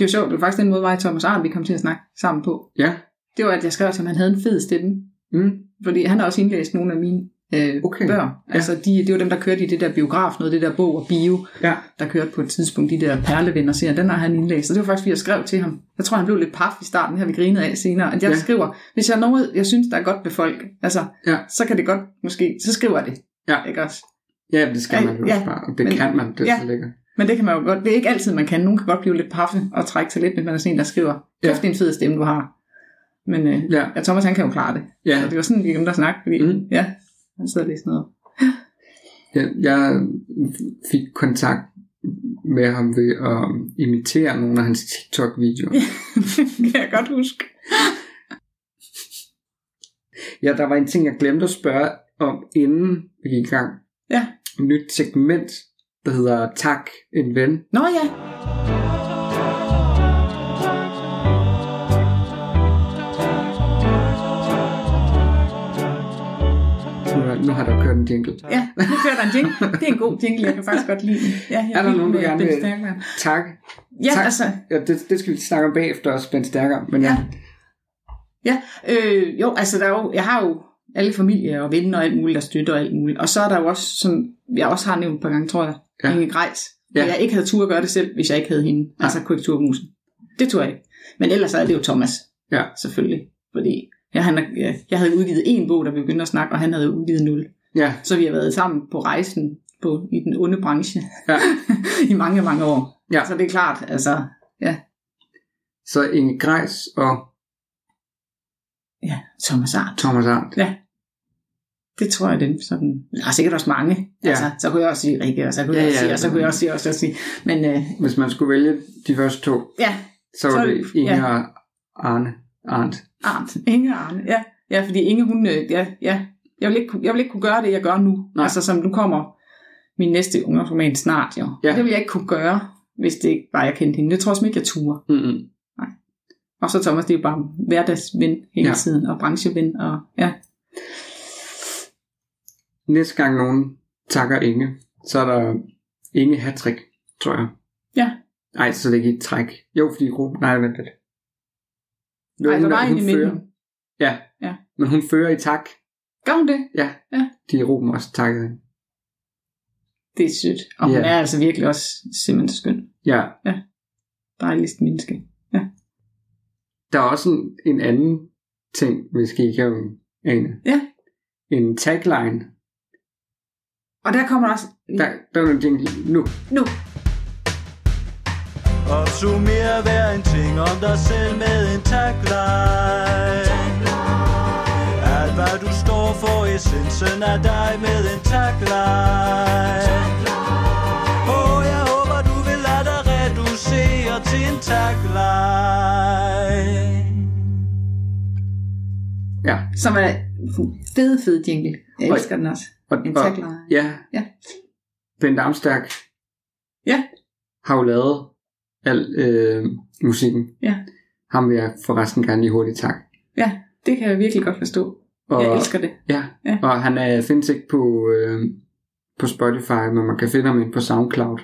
S3: jo sjovt. Det var faktisk den måde, mig og Thomas Arndt, vi kom til at snakke sammen på.
S2: Ja.
S3: Det var, at jeg skrev til ham, han havde en fed stemme.
S2: Mm.
S3: Fordi han har også indlæst nogle af mine øh, okay.
S2: Okay.
S3: bøger. Altså, de, det var dem, der kørte i det der biograf, noget det der bog og bio,
S2: Ja.
S3: der kørte på et tidspunkt, de der perlevenner serier, den har han indlæst. Og det var faktisk, fordi jeg skrev til ham. Jeg tror, han blev lidt paf i starten, her vi grinede af senere. At jeg ja.
S2: Ja.
S3: skriver, hvis jeg er noget, jeg synes, der er godt ved folk, altså,
S2: Ja.
S3: så kan det godt måske, så skriver jeg det.
S2: Ja.
S3: Ikke også?
S2: Ja, det skal man jo
S3: Ja,
S2: også bare. Og det
S3: men-
S2: kan man, det er
S3: ja.
S2: så lækkert.
S3: Men det kan man jo godt, det er ikke altid, man kan. Nogen kan godt blive lidt paffe og trække sig lidt, hvis man er sådan en, der skriver,
S2: Ja.
S3: kæft, det er en fed stemme, du har. Men øh,
S2: Ja.
S3: ja, Thomas, han kan jo klare det.
S2: Ja.
S3: Og det var sådan, vi kom der snakke, fordi, mm.
S2: Mm.
S3: ja, han sidder lige sådan noget.
S2: Jeg, jeg fik kontakt med ham ved at imitere nogle af hans TikTok-videoer.
S3: kan jeg godt huske.
S2: Ja, der var en ting, jeg glemte at spørge om, inden vi gik i gang.
S3: Ja.
S2: Et nyt segment, der hedder Tak, en ven.
S3: Nå ja,
S2: Nu har- Nu har der kørt en jingle.
S3: ja, nu kører der en jingle. Det er en god jingle, jeg kan faktisk godt lide. den. Ja, jeg
S2: Er der
S3: vild
S2: nogen, du
S3: med
S2: gerne
S3: Ben
S2: vil-
S3: Stærkvær.
S2: Tak.
S3: Ja, tak.
S2: Tak.
S3: altså,
S2: Ja, det, det skal vi snakke om bagefter også, Ben Stærkere. Men
S3: Ja.
S2: ja.
S3: ja, øh, jo, altså der er jo, jeg har jo alle familier og venner og alt muligt, der støtter og alt muligt. Og så er der jo også, som jeg også har nævnt et par gange, tror jeg, ja.
S2: Ja.
S3: Inge Grejs. Ja.
S2: Ja.
S3: Jeg ikke havde tur at gøre det selv, hvis jeg ikke havde hende. Ja. Altså korrekturmusen. Det tror jeg ikke. Men ellers er det jo Thomas.
S2: Ja.
S3: Selvfølgelig. Fordi jeg, han, er- ja, jeg havde udgivet en bog, der vi begyndte at snakke, og han havde udgivet nul.
S2: ja,
S3: Så vi har været sammen på rejsen på, i den onde branche
S2: ja.
S3: i mange, mange år.
S2: Ja.
S3: Så det er klart, altså,
S2: Så Inge Grejs og
S3: ja, Thomas Arndt.
S2: Thomas Arndt.
S3: Det tror jeg, den sådan... Der er sikkert også mange. Ja.
S2: Ja.
S3: Altså, så kunne jeg også sige Rikke, og så kunne ja,
S2: Ja,
S3: jeg også
S2: ja,
S3: sige, og så
S2: men-
S3: kunne jeg også sige, og så sige. Men øh,
S2: Hvis man skulle vælge de første to,
S3: ja,
S2: så var
S3: Så-
S2: det Inge
S3: ja.
S2: ja. og Arne. Arndt.
S3: Arndt. Inge og Arne. Ja, ja fordi Inge, hun... øh, Ja, ja. Jeg vil, ikke, kunne- jeg vil ikke kunne gøre det, jeg gør nu. Nej.
S2: Nej.
S3: Altså, som nu kommer min næste ungdomsroman snart, jo.
S2: Ja.
S3: Ja. Det vil jeg ikke kunne gøre, hvis det ikke var, jeg kendte hende. Det tror jeg simpelthen ikke, jeg turde.
S2: Mm-hmm.
S3: Og så Thomas, det er jo bare hverdagsven hele ja.
S2: Ja.
S3: tiden, og brancheven, og ja.
S2: Næste gang nogen takker Inge, så er der Inge Hattrick, tror jeg.
S3: Ja.
S2: Nej, så er det ikke et træk. Jo, fordi Ruben... Nej, vent lidt. Jo,
S3: Ej, der
S2: hun er-
S3: var en
S2: hun
S3: i midten.
S2: fører. Ja.
S3: Ja.
S2: Men hun fører i tak.
S3: Gør hun det?
S2: Ja.
S3: Ja.
S2: De er Ruben også takket hende.
S3: Det er sødt. Og hun
S2: Ja.
S3: er altså virkelig også simpelthen skøn.
S2: Ja.
S3: Dejligst menneske.
S2: Der er også en, en anden ting, vi skal igennem, Ane.
S3: Ja.
S2: En tagline.
S3: Og der kommer der også...
S2: Der, der er en jingle nu.
S3: Nu.
S1: Og summer hver en ting om dig selv med en tagline Alt hvad du står for, essensen af dig med en tagline Åh, jeg håber du vil lade dig reducere til en tagline
S2: Ja.
S3: Som er fed, fed jingle. Jeg elsker den også.
S2: Og,
S3: En
S2: og-
S3: tagline.
S2: Ja.
S3: Ja.
S2: Bent Amstærk
S3: Ja.
S2: har jo lavet al øh, musikken.
S3: Ja.
S2: Ham vil jeg forresten gerne lige hurtigt tak.
S3: Ja, det kan jeg virkelig godt forstå.
S2: Og,
S3: Jeg elsker det.
S2: ja.
S3: Ja.
S2: og han er, findes ikke på, øh, på Spotify, men man kan finde ham inde på SoundCloud.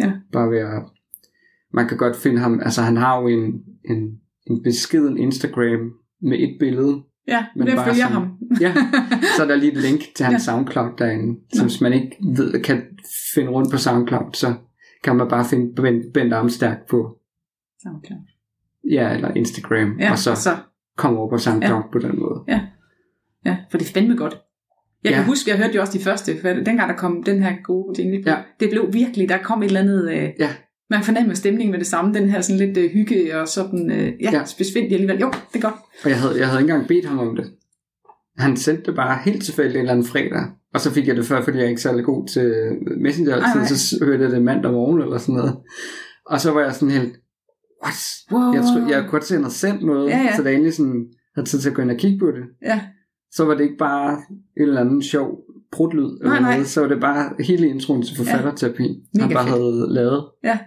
S3: Ja.
S2: Bare ved at, man kan godt finde ham, altså han har jo en, en, en beskeden Instagram med et billede.
S3: Ja, men
S2: Men
S3: jeg
S2: bare
S3: følger ham.
S2: sådan- Ja, så er der lige et link til hans ja. SoundCloud derinde. Så hvis man ikke ved, kan finde rundt på SoundCloud, så kan man bare finde Bent, Bent Amstærk på
S3: Okay.
S2: ja, eller Instagram,
S3: Ja,
S2: og så,
S3: så,
S2: komme over på SoundCloud ja. på den måde.
S3: ja, for det er fandme godt. Jeg kan
S2: Ja.
S3: huske, jeg hørte jo også de første, for dengang der kom den her gode jingle på,
S2: Ja.
S3: det blev virkelig, der kom et eller andet, øh,
S2: Ja.
S3: man fornemmer stemningen med det samme, den her sådan lidt øh, hygge og sådan, øh, ja, ja.
S2: Ja.
S3: spidsvindig alligevel. Jo, det er godt.
S2: Og jeg havde, jeg havde ikke engang bedt ham om det. Han sendte det bare helt tilfældigt en eller anden fredag. Og så fik jeg det før, fordi jeg er ikke særlig god til Messenger.
S3: Ej, nej.
S2: Ej, så s- hørte jeg det mandag morgen eller sådan noget. Og så var jeg sådan helt, what?
S3: Wow.
S2: Jeg, tro, jeg kunne godt se, at han havde sendt noget,
S3: Ja, ja.
S2: så da jeg endelig sådan, havde tid til at gå ind og kigge på det,
S3: Ja,
S2: så var det ikke bare en eller anden sjov prutlyd, eller
S3: nej.
S2: Noget, så var det bare hele introen til forfatterterapi, ja. han
S3: Mega
S2: bare
S3: fedt.
S2: havde lavet.
S3: Ja.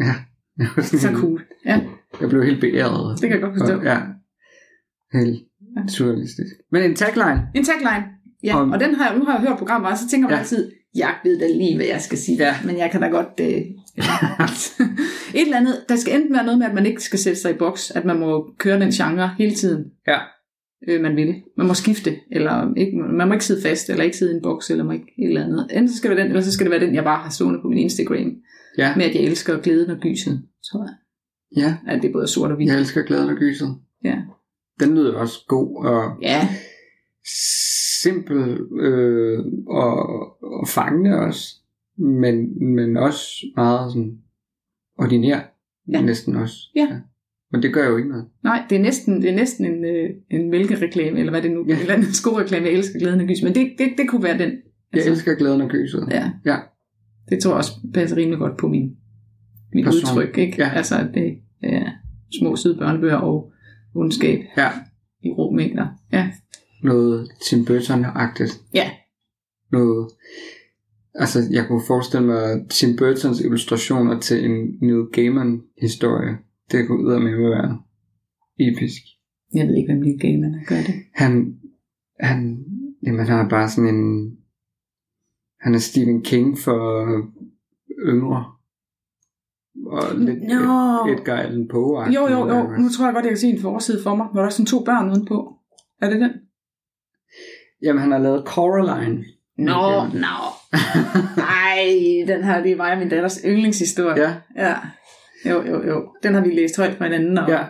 S2: Ja. Jeg var sådan
S3: så
S2: helt-
S3: cool. Ja,
S2: Jeg blev helt beæret.
S3: det kan jeg godt forstå.
S2: Og- Ja. Helt
S3: Ja.
S2: surrealistisk. Men en tagline.
S3: En tagline. Ja,
S2: Om-
S3: og den har, nu har jeg hørt programmet, og så tænker man
S2: Ja.
S3: ja. altid, jeg ved da lige, hvad jeg skal sige,
S2: Ja.
S3: ja. men jeg kan da godt... Øh, et eller andet, der skal enten være noget med, at man ikke skal sætte sig i boks, at man må køre den genre hele tiden,
S2: Ja.
S3: øh, man vil. Man må skifte, eller ikke, man må ikke sidde fast, eller ikke sidde i en boks, eller må ikke et eller andet. Enten så skal det være den, eller så skal det være den, jeg bare har stående på min Instagram,
S2: Ja.
S3: med at jeg elsker glæden og gyset, tror jeg.
S2: Ja.
S3: At det er både sort og hvidt.
S2: Jeg elsker glæden og gyset.
S3: Ja.
S2: Den lyder også god og
S3: ja.
S2: simpel øh, og, og fangende også. Men, men også meget sådan ordinær.
S3: Ja.
S2: Næsten også.
S3: Ja.
S2: Men det gør jo ikke noget.
S3: Nej, det er næsten, det er næsten en, øh, en mælkereklame, eller hvad det nu
S2: Ja.
S3: ja. en eller anden skoreklame, jeg elsker glæden og gys, men det, det, det kunne være den. Altså,
S2: Jeg elsker glæden og gyset.
S3: Ja,
S2: Ja.
S3: det tror jeg også passer rimelig godt på min, mit
S2: Person.
S3: udtryk, ikke?
S2: Ja.
S3: Altså, at det er små søde børnebøger og ondskab
S2: ja.
S3: i rå mængder. Ja,
S2: Noget Tim Burton-agtigt.
S3: ja,
S2: noget... Altså, jeg kunne forestille mig Tim Burtons illustrationer til en Neil Gaiman-historie. Det kunne ud være episk.
S3: jeg ved ikke, hvem lige gamer er, gør det.
S2: Han, han, jamen, han er bare sådan en... Han er Stephen King for yngre. Og lidt
S3: Nå.
S2: Edgar Allan Poe.
S3: Jo, jo, jo, nu tror jeg godt, jeg kan se en forside for mig, hvor der er sådan to børn udenpå. Er det den?
S2: Jamen, han har lavet Coraline. Okay.
S3: nå. Nej, den her, det er mig og min datters yndlingshistorie.
S2: Ja,
S3: Ja. Jo, jo, jo. Den har vi læst højt fra hinanden. Og
S2: ja.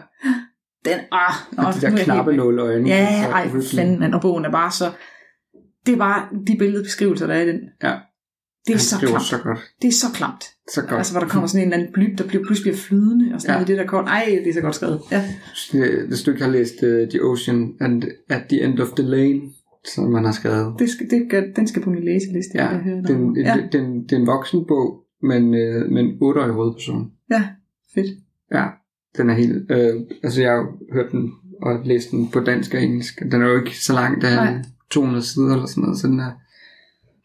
S3: Den, ah,
S2: Og de der knappe altså, nåleøjne.
S3: Ja,
S2: Så
S3: ej, for
S2: uhyggelige.
S3: fanden, mand. Og bogen er bare så... Det er bare de billedbeskrivelser, der er i den.
S2: Ja.
S3: Det er
S2: Han
S3: så
S2: skriver
S3: klamt.
S2: så godt.
S3: Det er så klamt.
S2: Så godt.
S3: Altså, hvor der kommer sådan en eller anden blyb, der bliver, pludselig bliver flydende, og sådan
S2: Ja.
S3: ja. noget i det der kort. Ej, det er så godt skrevet. Ja.
S2: Hvis du ikke har læst uh, The Ocean and At the End of the Lane, som man har skrevet.
S3: Det skal, det gør, den skal på min læseliste.
S2: Ja,
S3: jeg hører
S2: det er en,
S3: ja.
S2: det- det er en- det er en voksen bog, men, uh, men 8-årig hovedperson.
S3: ja, fedt.
S2: Ja, den er helt... Øh, altså, jeg har jo hørt den og læst den på dansk og engelsk. Den er jo ikke så lang, den er
S3: Nej.
S2: 200 sider eller sådan noget. Så den er,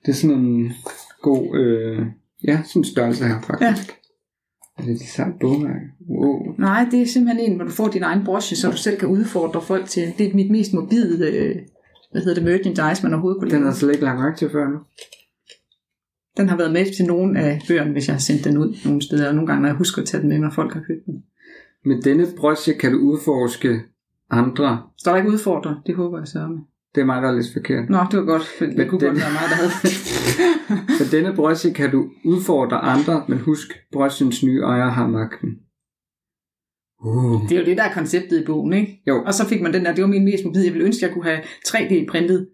S2: det er sådan en god... Øh, ja, sådan en størrelse her faktisk. Ja. Er det de samme bogmærker? Wow.
S3: Nej, det er simpelthen en, hvor du får din egen broche, så du selv kan udfordre folk til. Det er mit mest mobile, øh, hvad hedder det, merchandise, man overhovedet kunne
S2: Den
S3: lave.
S2: er slet ikke lagt mærke til før nu.
S3: Den har været med til nogle af bøgerne, hvis jeg har sendt den ud nogle steder, og nogle gange, når jeg husker at tage den med, når folk har købt den.
S2: Med denne broche kan du udforske andre
S3: Står der ikke udfordret? Det håber jeg så med.
S2: Det er mig, der er lidt forkert.
S3: Nå, det var godt, for det
S2: Men
S3: kunne
S2: den-
S3: godt være mig, der havde
S2: Med denne brøsje kan du udfordre andre, men husk, brøsjens nye ejer har magten. Uh.
S3: Det er jo det, der er konceptet i bogen, ikke?
S2: Jo,
S3: Og så fik man den der, det var min mest mobil. Jeg ville ønske, jeg kunne have 3D-printet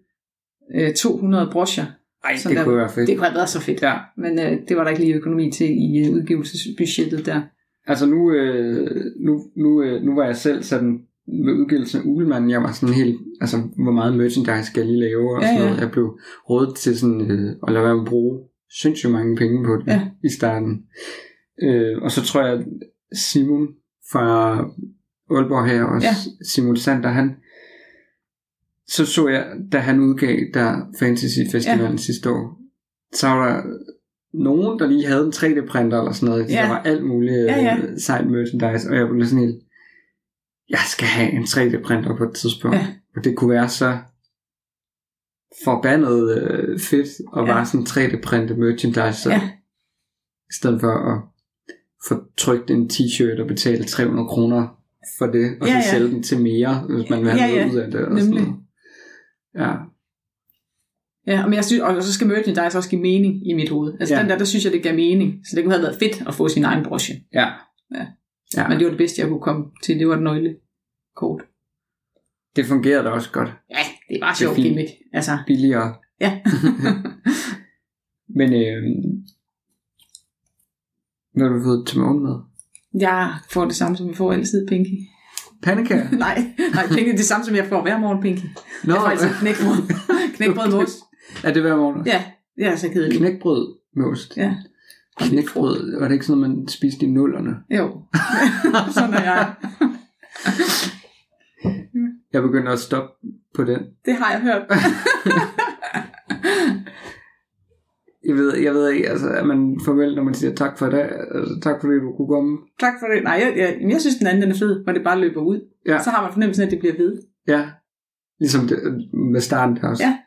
S3: øh, 200 brocher.
S2: Ej,
S3: sådan
S2: det
S3: der-
S2: kunne være fedt.
S3: Det kunne have været så fedt.
S2: Ja,
S3: Men øh, det var der ikke lige økonomi til i øh, udgivelsesbudgettet der.
S2: altså nu, øh, nu, nu, øh, nu var jeg selv sådan ved udgivelsen af Ugelmanden, jeg var sådan helt, altså hvor meget merchandise skal jeg lige lave og
S3: Ja,
S2: sådan
S3: ja.
S2: noget. Jeg blev rådet til sådan øh, at lade være med at bruge sindssygt mange penge på det
S3: Ja.
S2: i starten. Øh, og så tror jeg, Simon fra Aalborg her, og
S3: Ja.
S2: ja. Simon Sander, han, så så jeg, da han udgav der Fantasy Festivalen ja. sidste år, så var der nogen, der lige havde en 3D-printer eller sådan noget. Ja.
S3: Ja.
S2: Der var alt muligt ja,
S3: Ja,
S2: ja.
S3: ja.
S2: Øh, sejt merchandise, og jeg blev sådan helt, jeg skal have en 3D-printer på et tidspunkt. Ja.
S3: Ja.
S2: Og det kunne være så forbandet øh, fedt at
S3: Ja.
S2: ja. bare sådan 3D-printe merchandise, så, ja.
S3: Ja.
S2: i stedet for at få trykt en t-shirt og betale 300 kroner for det, og ja,
S3: Ja,
S2: så
S3: ja.
S2: sælge den til mere, hvis man vil have
S3: Ja,
S2: noget
S3: ja.
S2: ud af det. Og
S3: Nemlig.
S2: Sådan. noget. Ja,
S3: Ja, men jeg synes, og så skal merchandise også give mening i mit hoved. Altså
S2: Ja.
S3: ja. den der, der synes jeg, det gav mening. Så det kunne have været fedt at få sin egen broche.
S2: ja.
S3: Ja.
S2: ja.
S3: Men
S2: Men
S3: det var det bedste, jeg kunne komme til. Det var et nøglekort.
S2: det fungerer da også godt.
S3: Ja, det er
S2: Det er
S3: bare sjovt
S2: fint.
S3: gimmick. Altså,
S2: Billigere.
S3: ja.
S2: Men øh, hvad har du fået til morgenmad?
S3: jeg får det samme, som vi får altid, Pinky.
S2: Pandekager?
S3: Nej, nej, Pinky, det er samme som jeg får hver morgen, Pinky.
S2: Nå,
S3: Jeg får altid knækbrød. knækbrød med ost.
S2: er det hver morgen?
S3: Ja, det er så kedeligt.
S2: Knækbrød med ost.
S3: Ja.
S2: Knækbrød, var det ikke sådan noget, man spiste i nullerne?
S3: Jo, sådan er jeg.
S2: Jeg begynder at stoppe på den.
S3: Det har jeg hørt.
S2: Jeg ved, jeg ved ikke, altså, at man formelt, når man siger tak for i dag, altså, tak fordi du kunne komme.
S3: Tak for det. Nej, jeg, jeg, men jeg synes, den anden den er fed, hvor det bare løber ud.
S2: Ja.
S3: Så har man fornemmelsen af, at det bliver ved.
S2: Ja, ligesom det, med starten der også.
S3: Ja.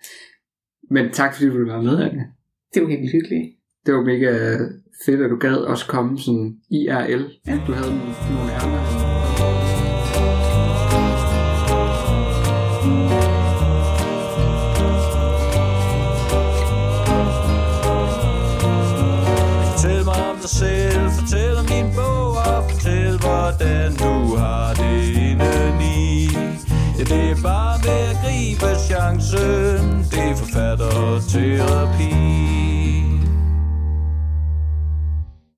S2: Men tak fordi du ville være med, Anne.
S3: Det er jo helt hyggeligt.
S2: Det var mega fedt, at du gad også komme sådan IRL.
S3: Ja.
S2: Du havde nogle nogle ærner.
S1: Fortæl mig om dig selv, fortæl om din bog og fortæl, hvordan du har det indeni. Ja, det er bare ved at gribe chancen, det er forfatterterapi.